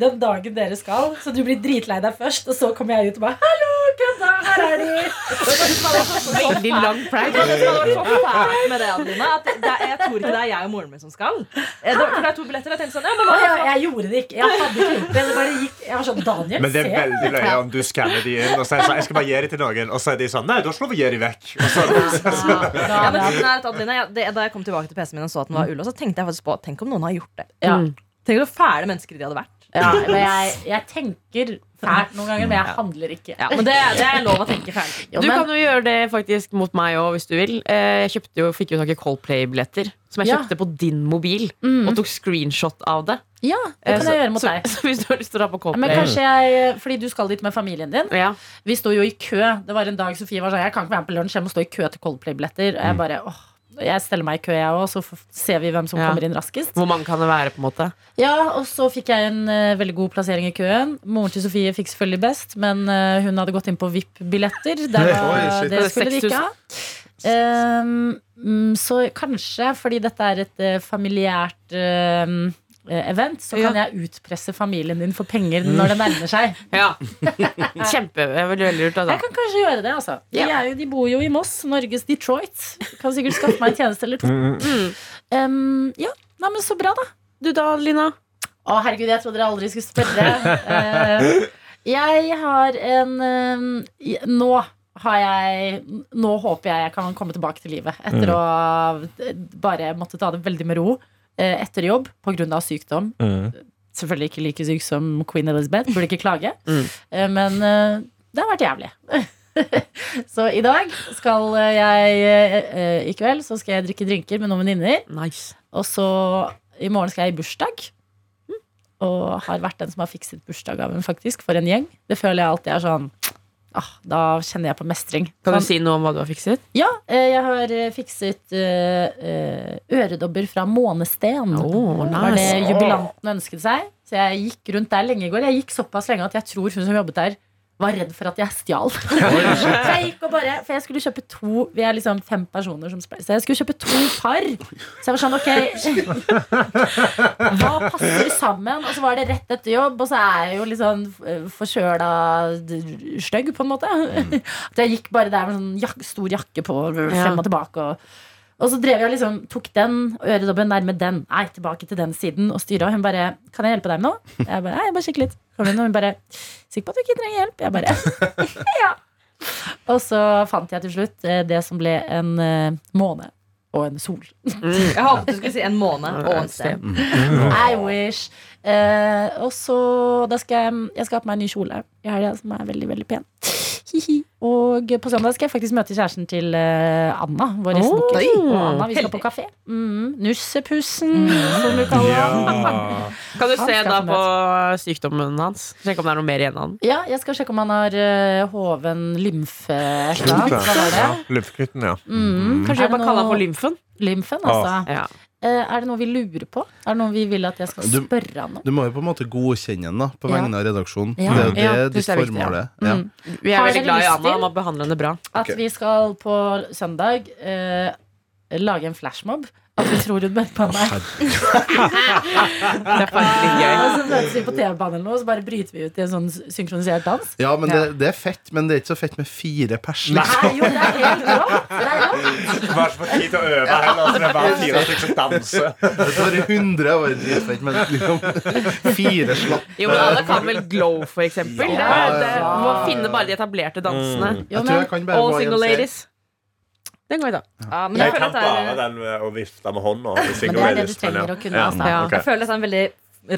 Speaker 5: den dagen dere skal, så du blir dritlei deg først. Og så kommer jeg ut og bare 'Hallo, kødda! Her er de!'
Speaker 2: Veldig lang
Speaker 6: Jeg
Speaker 3: [LAUGHS]
Speaker 2: prank.
Speaker 6: tror det som hadde vært så fælt med det, Adeline, at det er, jeg tror ikke det er jeg og moren min som skal. Eh, det- For det er to billetter. Jeg tenkte sånn, ja, men
Speaker 5: Og
Speaker 6: hva
Speaker 5: jeg, jeg gjorde det ikke. Jeg hadde ikke gjort det. Det bare gikk. Jeg var sånn Daniel,
Speaker 3: Men det
Speaker 5: [LAUGHS]
Speaker 3: er
Speaker 5: se.
Speaker 3: veldig løye om du skanner de inn og sier sånn, jeg skal bare gi de til noen, og så er de sånn Nei, da skal du gi de vekk. Og så,
Speaker 5: Ja,
Speaker 6: ja, men
Speaker 5: da-
Speaker 6: tingen er at Adeline, jeg, det, Da jeg kom tilbake til PC-en min og så at den var ullåst, så tenkte jeg faktisk på Tenk om noen har gjort det.
Speaker 5: Ja.
Speaker 6: Tenk hvor fæle mennesker de hadde vært.
Speaker 5: Ja, men jeg, jeg tenker fælt noen ganger, men jeg handler ikke.
Speaker 6: Ja, men det, det er lov å tenke ferdig.
Speaker 5: Jo,
Speaker 2: Du
Speaker 5: men-
Speaker 2: kan jo gjøre det faktisk mot meg òg, hvis du vil. Eh, Jeg kjøpte jo, fikk jo tak i Coldplay-billetter, som jeg
Speaker 5: Ja.
Speaker 2: kjøpte på din mobil. Og tok screenshot av det.
Speaker 5: Ja, det
Speaker 2: Eh,
Speaker 5: kan jeg
Speaker 2: så-
Speaker 5: gjøre mot
Speaker 2: så, [LAUGHS]
Speaker 5: deg.
Speaker 2: Så hvis du har lyst til å dra på
Speaker 5: Men
Speaker 2: Coldplay
Speaker 5: kanskje jeg, fordi du skal dit med familien din.
Speaker 2: ja.
Speaker 5: Vi sto jo i kø. Det var en dag Sofie var sånn Jeg kan ikke være med på lunsj, jeg må stå i kø til Coldplay-billetter. Og jeg bare åh, jeg steller meg i kø, jeg òg, så f- ser vi hvem som
Speaker 2: Ja.
Speaker 5: kommer inn raskest.
Speaker 2: Hvor mange kan det være, på en måte?
Speaker 5: Ja, og så fikk jeg en eh, veldig god plassering i køen. Moren til Sofie fikk selvfølgelig best, men eh, hun hadde gått inn på VIP-billetter. Det,
Speaker 4: Oi,
Speaker 5: var-
Speaker 4: shit.
Speaker 5: det skulle de ikke ha. Ehm, mm, så kanskje, fordi dette er et eh, familiært ehm, eh, event, så kan
Speaker 2: Ja.
Speaker 5: jeg utpresse familien din for penger når det nærmer seg. [LAUGHS]
Speaker 2: Ja. Kjempe. Det er veldig, veldig lurt.
Speaker 5: Jeg
Speaker 2: Altså.
Speaker 5: kan kanskje gjøre det, altså. De, er jo, de bor jo i Moss, Norges Detroit. Kan sikkert skaffe meg en tjeneste eller to. Ehm, ja, Nei, men så bra, da.
Speaker 2: Du da, Lina?
Speaker 5: Å, herregud, jeg trodde dere aldri skulle spørre. Eh, jeg har en eh, i- Nå har jeg Nå håper jeg jeg kan komme tilbake til livet etter å eh, bare måtte ta det veldig med ro eh, etter jobb pga. sykdom. Selvfølgelig ikke like syk som Queen Elizabeth, burde ikke
Speaker 2: [LAUGHS]
Speaker 5: klage.
Speaker 2: Mm.
Speaker 5: Eh, men eh, det har vært jævlig. [LAUGHS] så i dag skal jeg eh, eh, I kveld så skal jeg drikke drinker med noen venninner.
Speaker 2: Nice.
Speaker 5: Og så i morgen skal jeg i bursdag. Mm. Og har vært den som har fikset bursdagsgaven, faktisk, for en gjeng. Det føler jeg alltid er sånn ah, Da kjenner jeg på mestring.
Speaker 2: Kan du
Speaker 5: Sånn,
Speaker 2: si noe om hva du har fikset?
Speaker 5: Ja, eh, jeg har eh, fikset eh, eh, øredobber fra månesten.
Speaker 2: Oh,
Speaker 5: Det var det
Speaker 2: nice.
Speaker 5: jubilanten ønsket seg. Så jeg gikk rundt der lenge i går. Jeg gikk såpass lenge at jeg tror hun som jobbet der, var redd for at jeg stjal. så jeg gikk og bare For jeg skulle kjøpe to Vi er liksom fem personer som spleiser. Så jeg skulle kjøpe to par. Så jeg var sånn, ok Hva passer sammen? Og så var det rett etter jobb, og så er jeg jo litt sånn eh, forkjøla d- stygg, på en måte. At jeg gikk bare der med sånn jak stor jakke på
Speaker 2: Ja.
Speaker 5: frem og tilbake. og og så drev jeg liksom, tok den og øredobben nærme den. Nei, tilbake til den siden og styra. Hun bare 'Kan jeg hjelpe deg med noe?' Jeg bare 'Nei, jeg bare kikker litt'. Kommer hun, og hun bare 'Sikker på at du ikke trenger hjelp?' Jeg bare [LAUGHS] Ja. Og så fant jeg til slutt eh, det som ble en eh, måne og en sol.
Speaker 6: Jeg håpet du skulle si en måned og en sted.
Speaker 5: I wish. Eh, og så da skal jeg, jeg skal ha på meg en ny kjole i helga, som er veldig veldig pen. Hihi. Og på søndag skal jeg faktisk møte kjæresten til eh, Anna, vår gjestebukker. Og Anna, vi skal på kafé. Mm, Nussepussen,
Speaker 3: Mm.
Speaker 5: som du kaller han.
Speaker 2: Kan du
Speaker 5: Han
Speaker 2: se
Speaker 5: skal
Speaker 2: da
Speaker 5: få
Speaker 2: på sykdommen hans? Sjekke om det er noe mer igjen av den?
Speaker 5: Ja, jeg skal sjekke om han har eh, hoven lymfe et eller annet. Hva var det?
Speaker 3: Ja, Lymfeknutten, ja.
Speaker 5: Mm,
Speaker 2: Kanskje
Speaker 5: er
Speaker 2: jeg
Speaker 5: det
Speaker 2: bare kaller han
Speaker 5: noe-
Speaker 2: for lymfen?
Speaker 5: lymfen, altså.
Speaker 2: Ja.
Speaker 5: Eh, er det noe vi lurer på? Er det noe vi vil at jeg skal
Speaker 7: Du-
Speaker 5: spørre han om?
Speaker 4: Du må jo på en måte godkjenne den da på
Speaker 5: Ja.
Speaker 4: vegne av redaksjonen.
Speaker 5: Ja.
Speaker 4: Det er jo det
Speaker 2: Ja, synes
Speaker 4: ditt
Speaker 2: jeg er viktig, ja.
Speaker 4: formål er. Ja.
Speaker 5: Mm.
Speaker 2: Vi er
Speaker 5: Har
Speaker 2: veldig
Speaker 5: dere
Speaker 2: glad i
Speaker 5: lyst
Speaker 2: Anna.
Speaker 5: til-
Speaker 2: Man behandler henne bra.
Speaker 5: At vi skal på søndag eh, lage en flashmob. At vi tror hun møter på meg. Ah,
Speaker 2: Det er faktisk litt gøy.
Speaker 5: Og så møtes vi på TV-banen eller noe, og så bare bryter vi ut i en sånn synkronisert dans.
Speaker 4: Ja, men det, det er fett, men det er ikke så fett med fire pers. Liksom.
Speaker 5: Nei, jo, det er helt rått! Det er rått.
Speaker 3: Det var ikke for tid til å øve heller, så det er bare fire stykker som danser.
Speaker 4: Det er bare 100 år dritfett, men liksom fire slapp.
Speaker 2: Jo, men alle kan
Speaker 5: [LAUGHS]
Speaker 2: vel glow, for eksempel. Det er, det er,
Speaker 5: ja,
Speaker 2: man
Speaker 5: Mm.
Speaker 2: må finne bare de etablerte dansene.
Speaker 5: Jo,
Speaker 4: Jeg tror
Speaker 5: men,
Speaker 4: jeg kan bare
Speaker 2: All
Speaker 4: gå
Speaker 2: single
Speaker 4: og se.
Speaker 2: ladies. Den går vi, da.
Speaker 6: Ja, men jeg
Speaker 3: Jeg
Speaker 6: føler
Speaker 3: kan
Speaker 6: at
Speaker 3: bare
Speaker 6: det er,
Speaker 3: den med å vifte med hånda. hvis jeg
Speaker 5: men det er det du
Speaker 3: listen,
Speaker 5: trenger
Speaker 3: ja.
Speaker 5: å kunne. Altså.
Speaker 2: Ja.
Speaker 3: ok.
Speaker 6: jeg føler at det er en veldig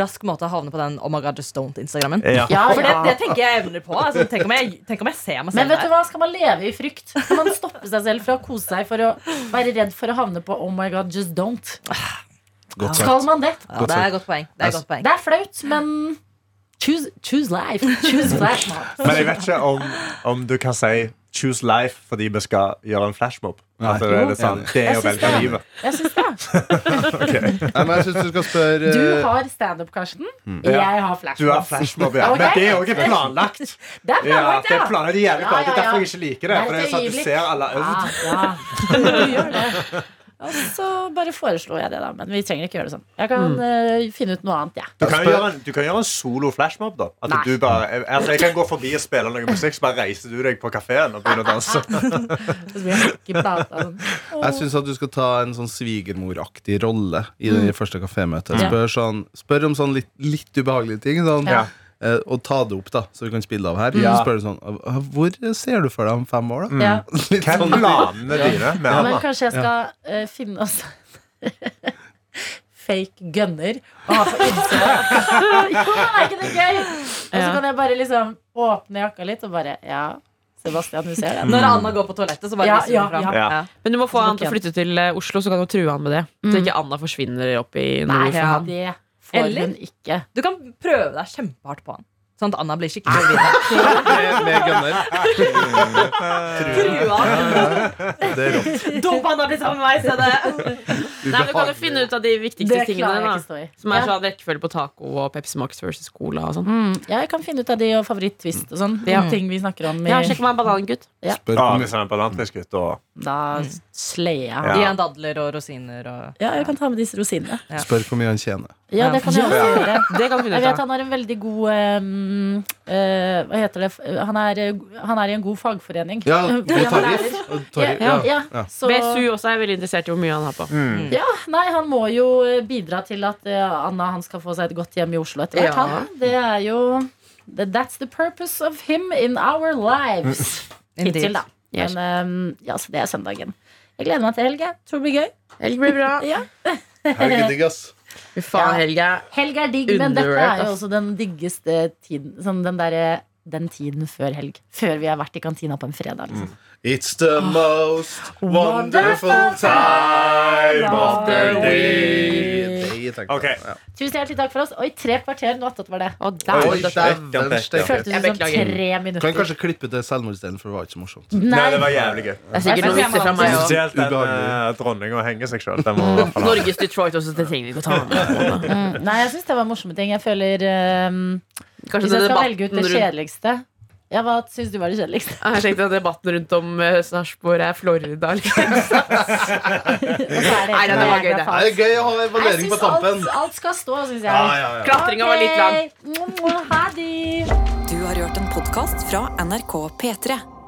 Speaker 6: rask måte å havne på den Oh my god, just don't-instagrammen.
Speaker 3: Ja.
Speaker 5: Ja,
Speaker 6: For det,
Speaker 5: ja.
Speaker 6: det tenker jeg evner på. Altså, tenk, om jeg, tenk om jeg ser meg
Speaker 5: Men
Speaker 6: selv
Speaker 5: vet du
Speaker 6: der.
Speaker 5: hva, skal man leve i frykt? Skal man stoppe seg selv fra å kose seg for å være redd for å havne på Oh my god, just don't?
Speaker 4: Godt sagt.
Speaker 5: Skal man det?
Speaker 6: Ja, det er et godt poeng. Det er et godt poeng.
Speaker 5: Det er flaut, men choose, choose life. Choose flashmob.
Speaker 3: Men jeg vet ikke om, om du kan si 'choose life' fordi vi skal gjøre en flashmob. At det, er litt sånn, det er
Speaker 5: Jeg
Speaker 3: å
Speaker 5: syns
Speaker 3: velge
Speaker 5: det.
Speaker 3: livet.
Speaker 5: Jeg syns det.
Speaker 4: Nei, men jeg syns du skal spørre
Speaker 5: Du
Speaker 4: eh,
Speaker 5: har standup, Karsten. Jeg har
Speaker 3: Mm. Du har
Speaker 5: flashmob.
Speaker 3: flashmob, ja. Men
Speaker 5: Ok.
Speaker 3: det er også planlagt.
Speaker 5: [LAUGHS] Det er
Speaker 3: Ja,
Speaker 5: planlagt,
Speaker 3: det er planlagt det er jævlig
Speaker 5: Ja,
Speaker 3: planlagt. Det er
Speaker 5: ja, ja.
Speaker 3: derfor jeg ikke liker det.
Speaker 5: Det er
Speaker 3: For det er
Speaker 5: et
Speaker 3: sånn at du
Speaker 5: øyeblikk.
Speaker 3: ser alle øvd.
Speaker 5: Ah, Ja, [LAUGHS] ja. Du gjør det. Og så bare foreslo jeg det, da. Men vi trenger ikke gjøre det sånn. Jeg kan eh, finne ut noe annet, jeg.
Speaker 3: Du kan jo
Speaker 4: Spør-
Speaker 3: gjøre en, du kan gjøre en solo flashmob, da. At
Speaker 5: Nei.
Speaker 3: du bare, jeg- altså, jeg kan gå forbi og spille noe musikk, så bare reiser du deg på kafeen og begynner å danse.
Speaker 5: Så blir jeg ikke plata sånn.
Speaker 4: Jeg syns at du skal ta en sånn svigermoraktig rolle i det første kafémøtet.
Speaker 5: Ja.
Speaker 4: Spør, sånn, spør om sånn litt, litt ubehagelige ting. Sånn,
Speaker 5: Ja.
Speaker 4: eh, og ta det opp, da, så vi kan spille av her. Så spør du sånn "Ah, Hvor ser du for deg om fem
Speaker 3: Mm.
Speaker 4: år, da?
Speaker 5: Ja.
Speaker 4: Litt
Speaker 3: Hva er
Speaker 4: sånn
Speaker 3: planene dine med
Speaker 5: Men
Speaker 3: han? da?
Speaker 5: kanskje jeg skal eh, finne oss [LAUGHS] fake gunner å ha på [LAUGHS] innsida. Jo, er ikke det gøy? Og så
Speaker 2: Ja.
Speaker 5: kan jeg bare liksom åpne jakka litt og bare Ja, Sebastian, du ser det.
Speaker 6: Når Anna går på toalettet, så bare
Speaker 5: Ja,
Speaker 6: viser
Speaker 5: ja,
Speaker 6: hun fram.
Speaker 5: Mm. ja.
Speaker 3: Ja.
Speaker 2: Men du må få
Speaker 5: Så
Speaker 2: han til
Speaker 5: lukker
Speaker 2: å flytte til eh, Oslo, så kan du true han med det. Så ikke Anna forsvinner opp i nord for
Speaker 5: ja,
Speaker 2: han.
Speaker 5: det får
Speaker 6: Eller-
Speaker 5: hun ikke.
Speaker 6: Du kan prøve deg kjempehardt på han. Sånn at Anna blir skikkelig [LAUGHS] forvirret.
Speaker 4: [LAUGHS] Med, med gunner.
Speaker 6: Trua han.
Speaker 4: Det er rått.
Speaker 6: Dump Anna blir sammen med meg, se det.
Speaker 2: Nei, men Du kan jo finne ut av de viktigste
Speaker 5: Det klarer
Speaker 2: tingene.
Speaker 5: jeg ikke
Speaker 2: Da,
Speaker 5: stå i.
Speaker 2: som er
Speaker 5: Ja.
Speaker 2: sånn rekkefølge på taco og Pepsi Max versus Cola og sånn.
Speaker 5: Mm, ja, jeg kan finne ut av de og favoritt-twist og sånn.
Speaker 2: Ja.
Speaker 5: Ting vi snakker om. I,
Speaker 2: Ja, sjekk meg en banangutt.
Speaker 7: Spør
Speaker 3: Ja,
Speaker 7: om
Speaker 3: hvis han er balantisk gutt og
Speaker 5: da slayer jeg.
Speaker 3: Ja.
Speaker 5: han.
Speaker 6: Gi han dadler og rosiner og
Speaker 5: Ja, jeg kan ta med disse rosinene.
Speaker 6: Ja.
Speaker 7: spør hvor mye han tjener.
Speaker 5: Ja, det kan jeg også gjøre.
Speaker 2: Det kan du finne
Speaker 5: Jeg vet
Speaker 2: ut av.
Speaker 5: han har en veldig god ehm, eh, Hva heter det? Han er, eh, han er i en god fagforening. [LAUGHS]
Speaker 4: Ja,
Speaker 5: Eh,
Speaker 4: og
Speaker 5: fordi han er
Speaker 4: tarif.
Speaker 5: lærer.
Speaker 4: Og
Speaker 5: Ja,
Speaker 4: tarif.
Speaker 5: ja,
Speaker 4: Ja.
Speaker 5: ja. Så,
Speaker 2: BSU også er veldig interessert i hvor mye han har på.
Speaker 5: ja, nei, han må jo bidra til at eh, Anna han skal få seg et godt hjem i Oslo etter hvert.
Speaker 2: Ja.
Speaker 5: Han, det er jo the, That's the purpose of him in our lives. Hittil, da.
Speaker 2: Yes.
Speaker 5: Men ehm, ja, så det er søndagen. Jeg gleder meg til helg. jeg. Tror det blir gøy.
Speaker 2: Helg blir bra.
Speaker 5: Ja.
Speaker 4: Helgedigg, ass.
Speaker 2: Fy faen, helg er
Speaker 5: Helg er digg, men dette
Speaker 2: Underrated,
Speaker 5: er jo
Speaker 2: ass.
Speaker 5: også den diggeste tiden. Sånn den derre den tiden før helg. Før vi har vært i kantina på en fredag. Liksom.
Speaker 2: Mm.
Speaker 4: It's the most wonderful time of the day. Det tenkte jeg.
Speaker 3: Ok.
Speaker 4: Ja.
Speaker 5: Tusen hjertelig takk for oss. Oi, tre kvarter nå attåt var det.
Speaker 2: Å,
Speaker 4: Oi,
Speaker 2: dæven. døtte.
Speaker 4: dæven
Speaker 5: Det
Speaker 4: steike.
Speaker 5: føltes
Speaker 2: Jeg
Speaker 5: ut som
Speaker 2: beklager.
Speaker 5: tre
Speaker 4: Kan
Speaker 5: minutter.
Speaker 4: kanskje klippe ut det selvmordsdelen, for det var ikke så morsomt.
Speaker 3: Nei, det var jævlig gøy.
Speaker 2: Det er sikkert noen vitser fra meg òg.
Speaker 3: Spesielt den uh,
Speaker 4: Ubehagelig.
Speaker 3: dronninga henger seg sjøl. Den må i
Speaker 4: [LAUGHS]
Speaker 3: hvert fall ha.
Speaker 2: Norges Detroit også, det trenger vi ikke å ta
Speaker 5: [LAUGHS]
Speaker 2: med.
Speaker 5: Mm, nei, jeg syns det var morsomme ting. Jeg føler ehm,
Speaker 2: Kanskje
Speaker 5: Hvis jeg
Speaker 2: den
Speaker 5: skal velge ut
Speaker 2: debatten
Speaker 5: det
Speaker 2: rundt
Speaker 5: kjedeligste ja, Hva syns du var det
Speaker 2: [LAUGHS]
Speaker 5: kjedeligste?
Speaker 2: Ja, Jeg tenkte at debatten rundt om eh, Sarpsborg er Florida. Liksom.
Speaker 5: Og så er
Speaker 2: Nei, det
Speaker 5: helt
Speaker 2: var gøy, det.
Speaker 5: jævla
Speaker 4: Nei,
Speaker 5: fast.
Speaker 4: Det er gøy å ha
Speaker 5: Jeg
Speaker 4: evaluering på
Speaker 5: syns
Speaker 4: tampen.
Speaker 5: alt, alt skal stå, syns jeg.
Speaker 4: Ja, ja, ja.
Speaker 2: Klatringa var litt lang.
Speaker 5: Ok. Mwah, mwah, Ha det.
Speaker 1: Du har hørt en podkast fra NRK P3.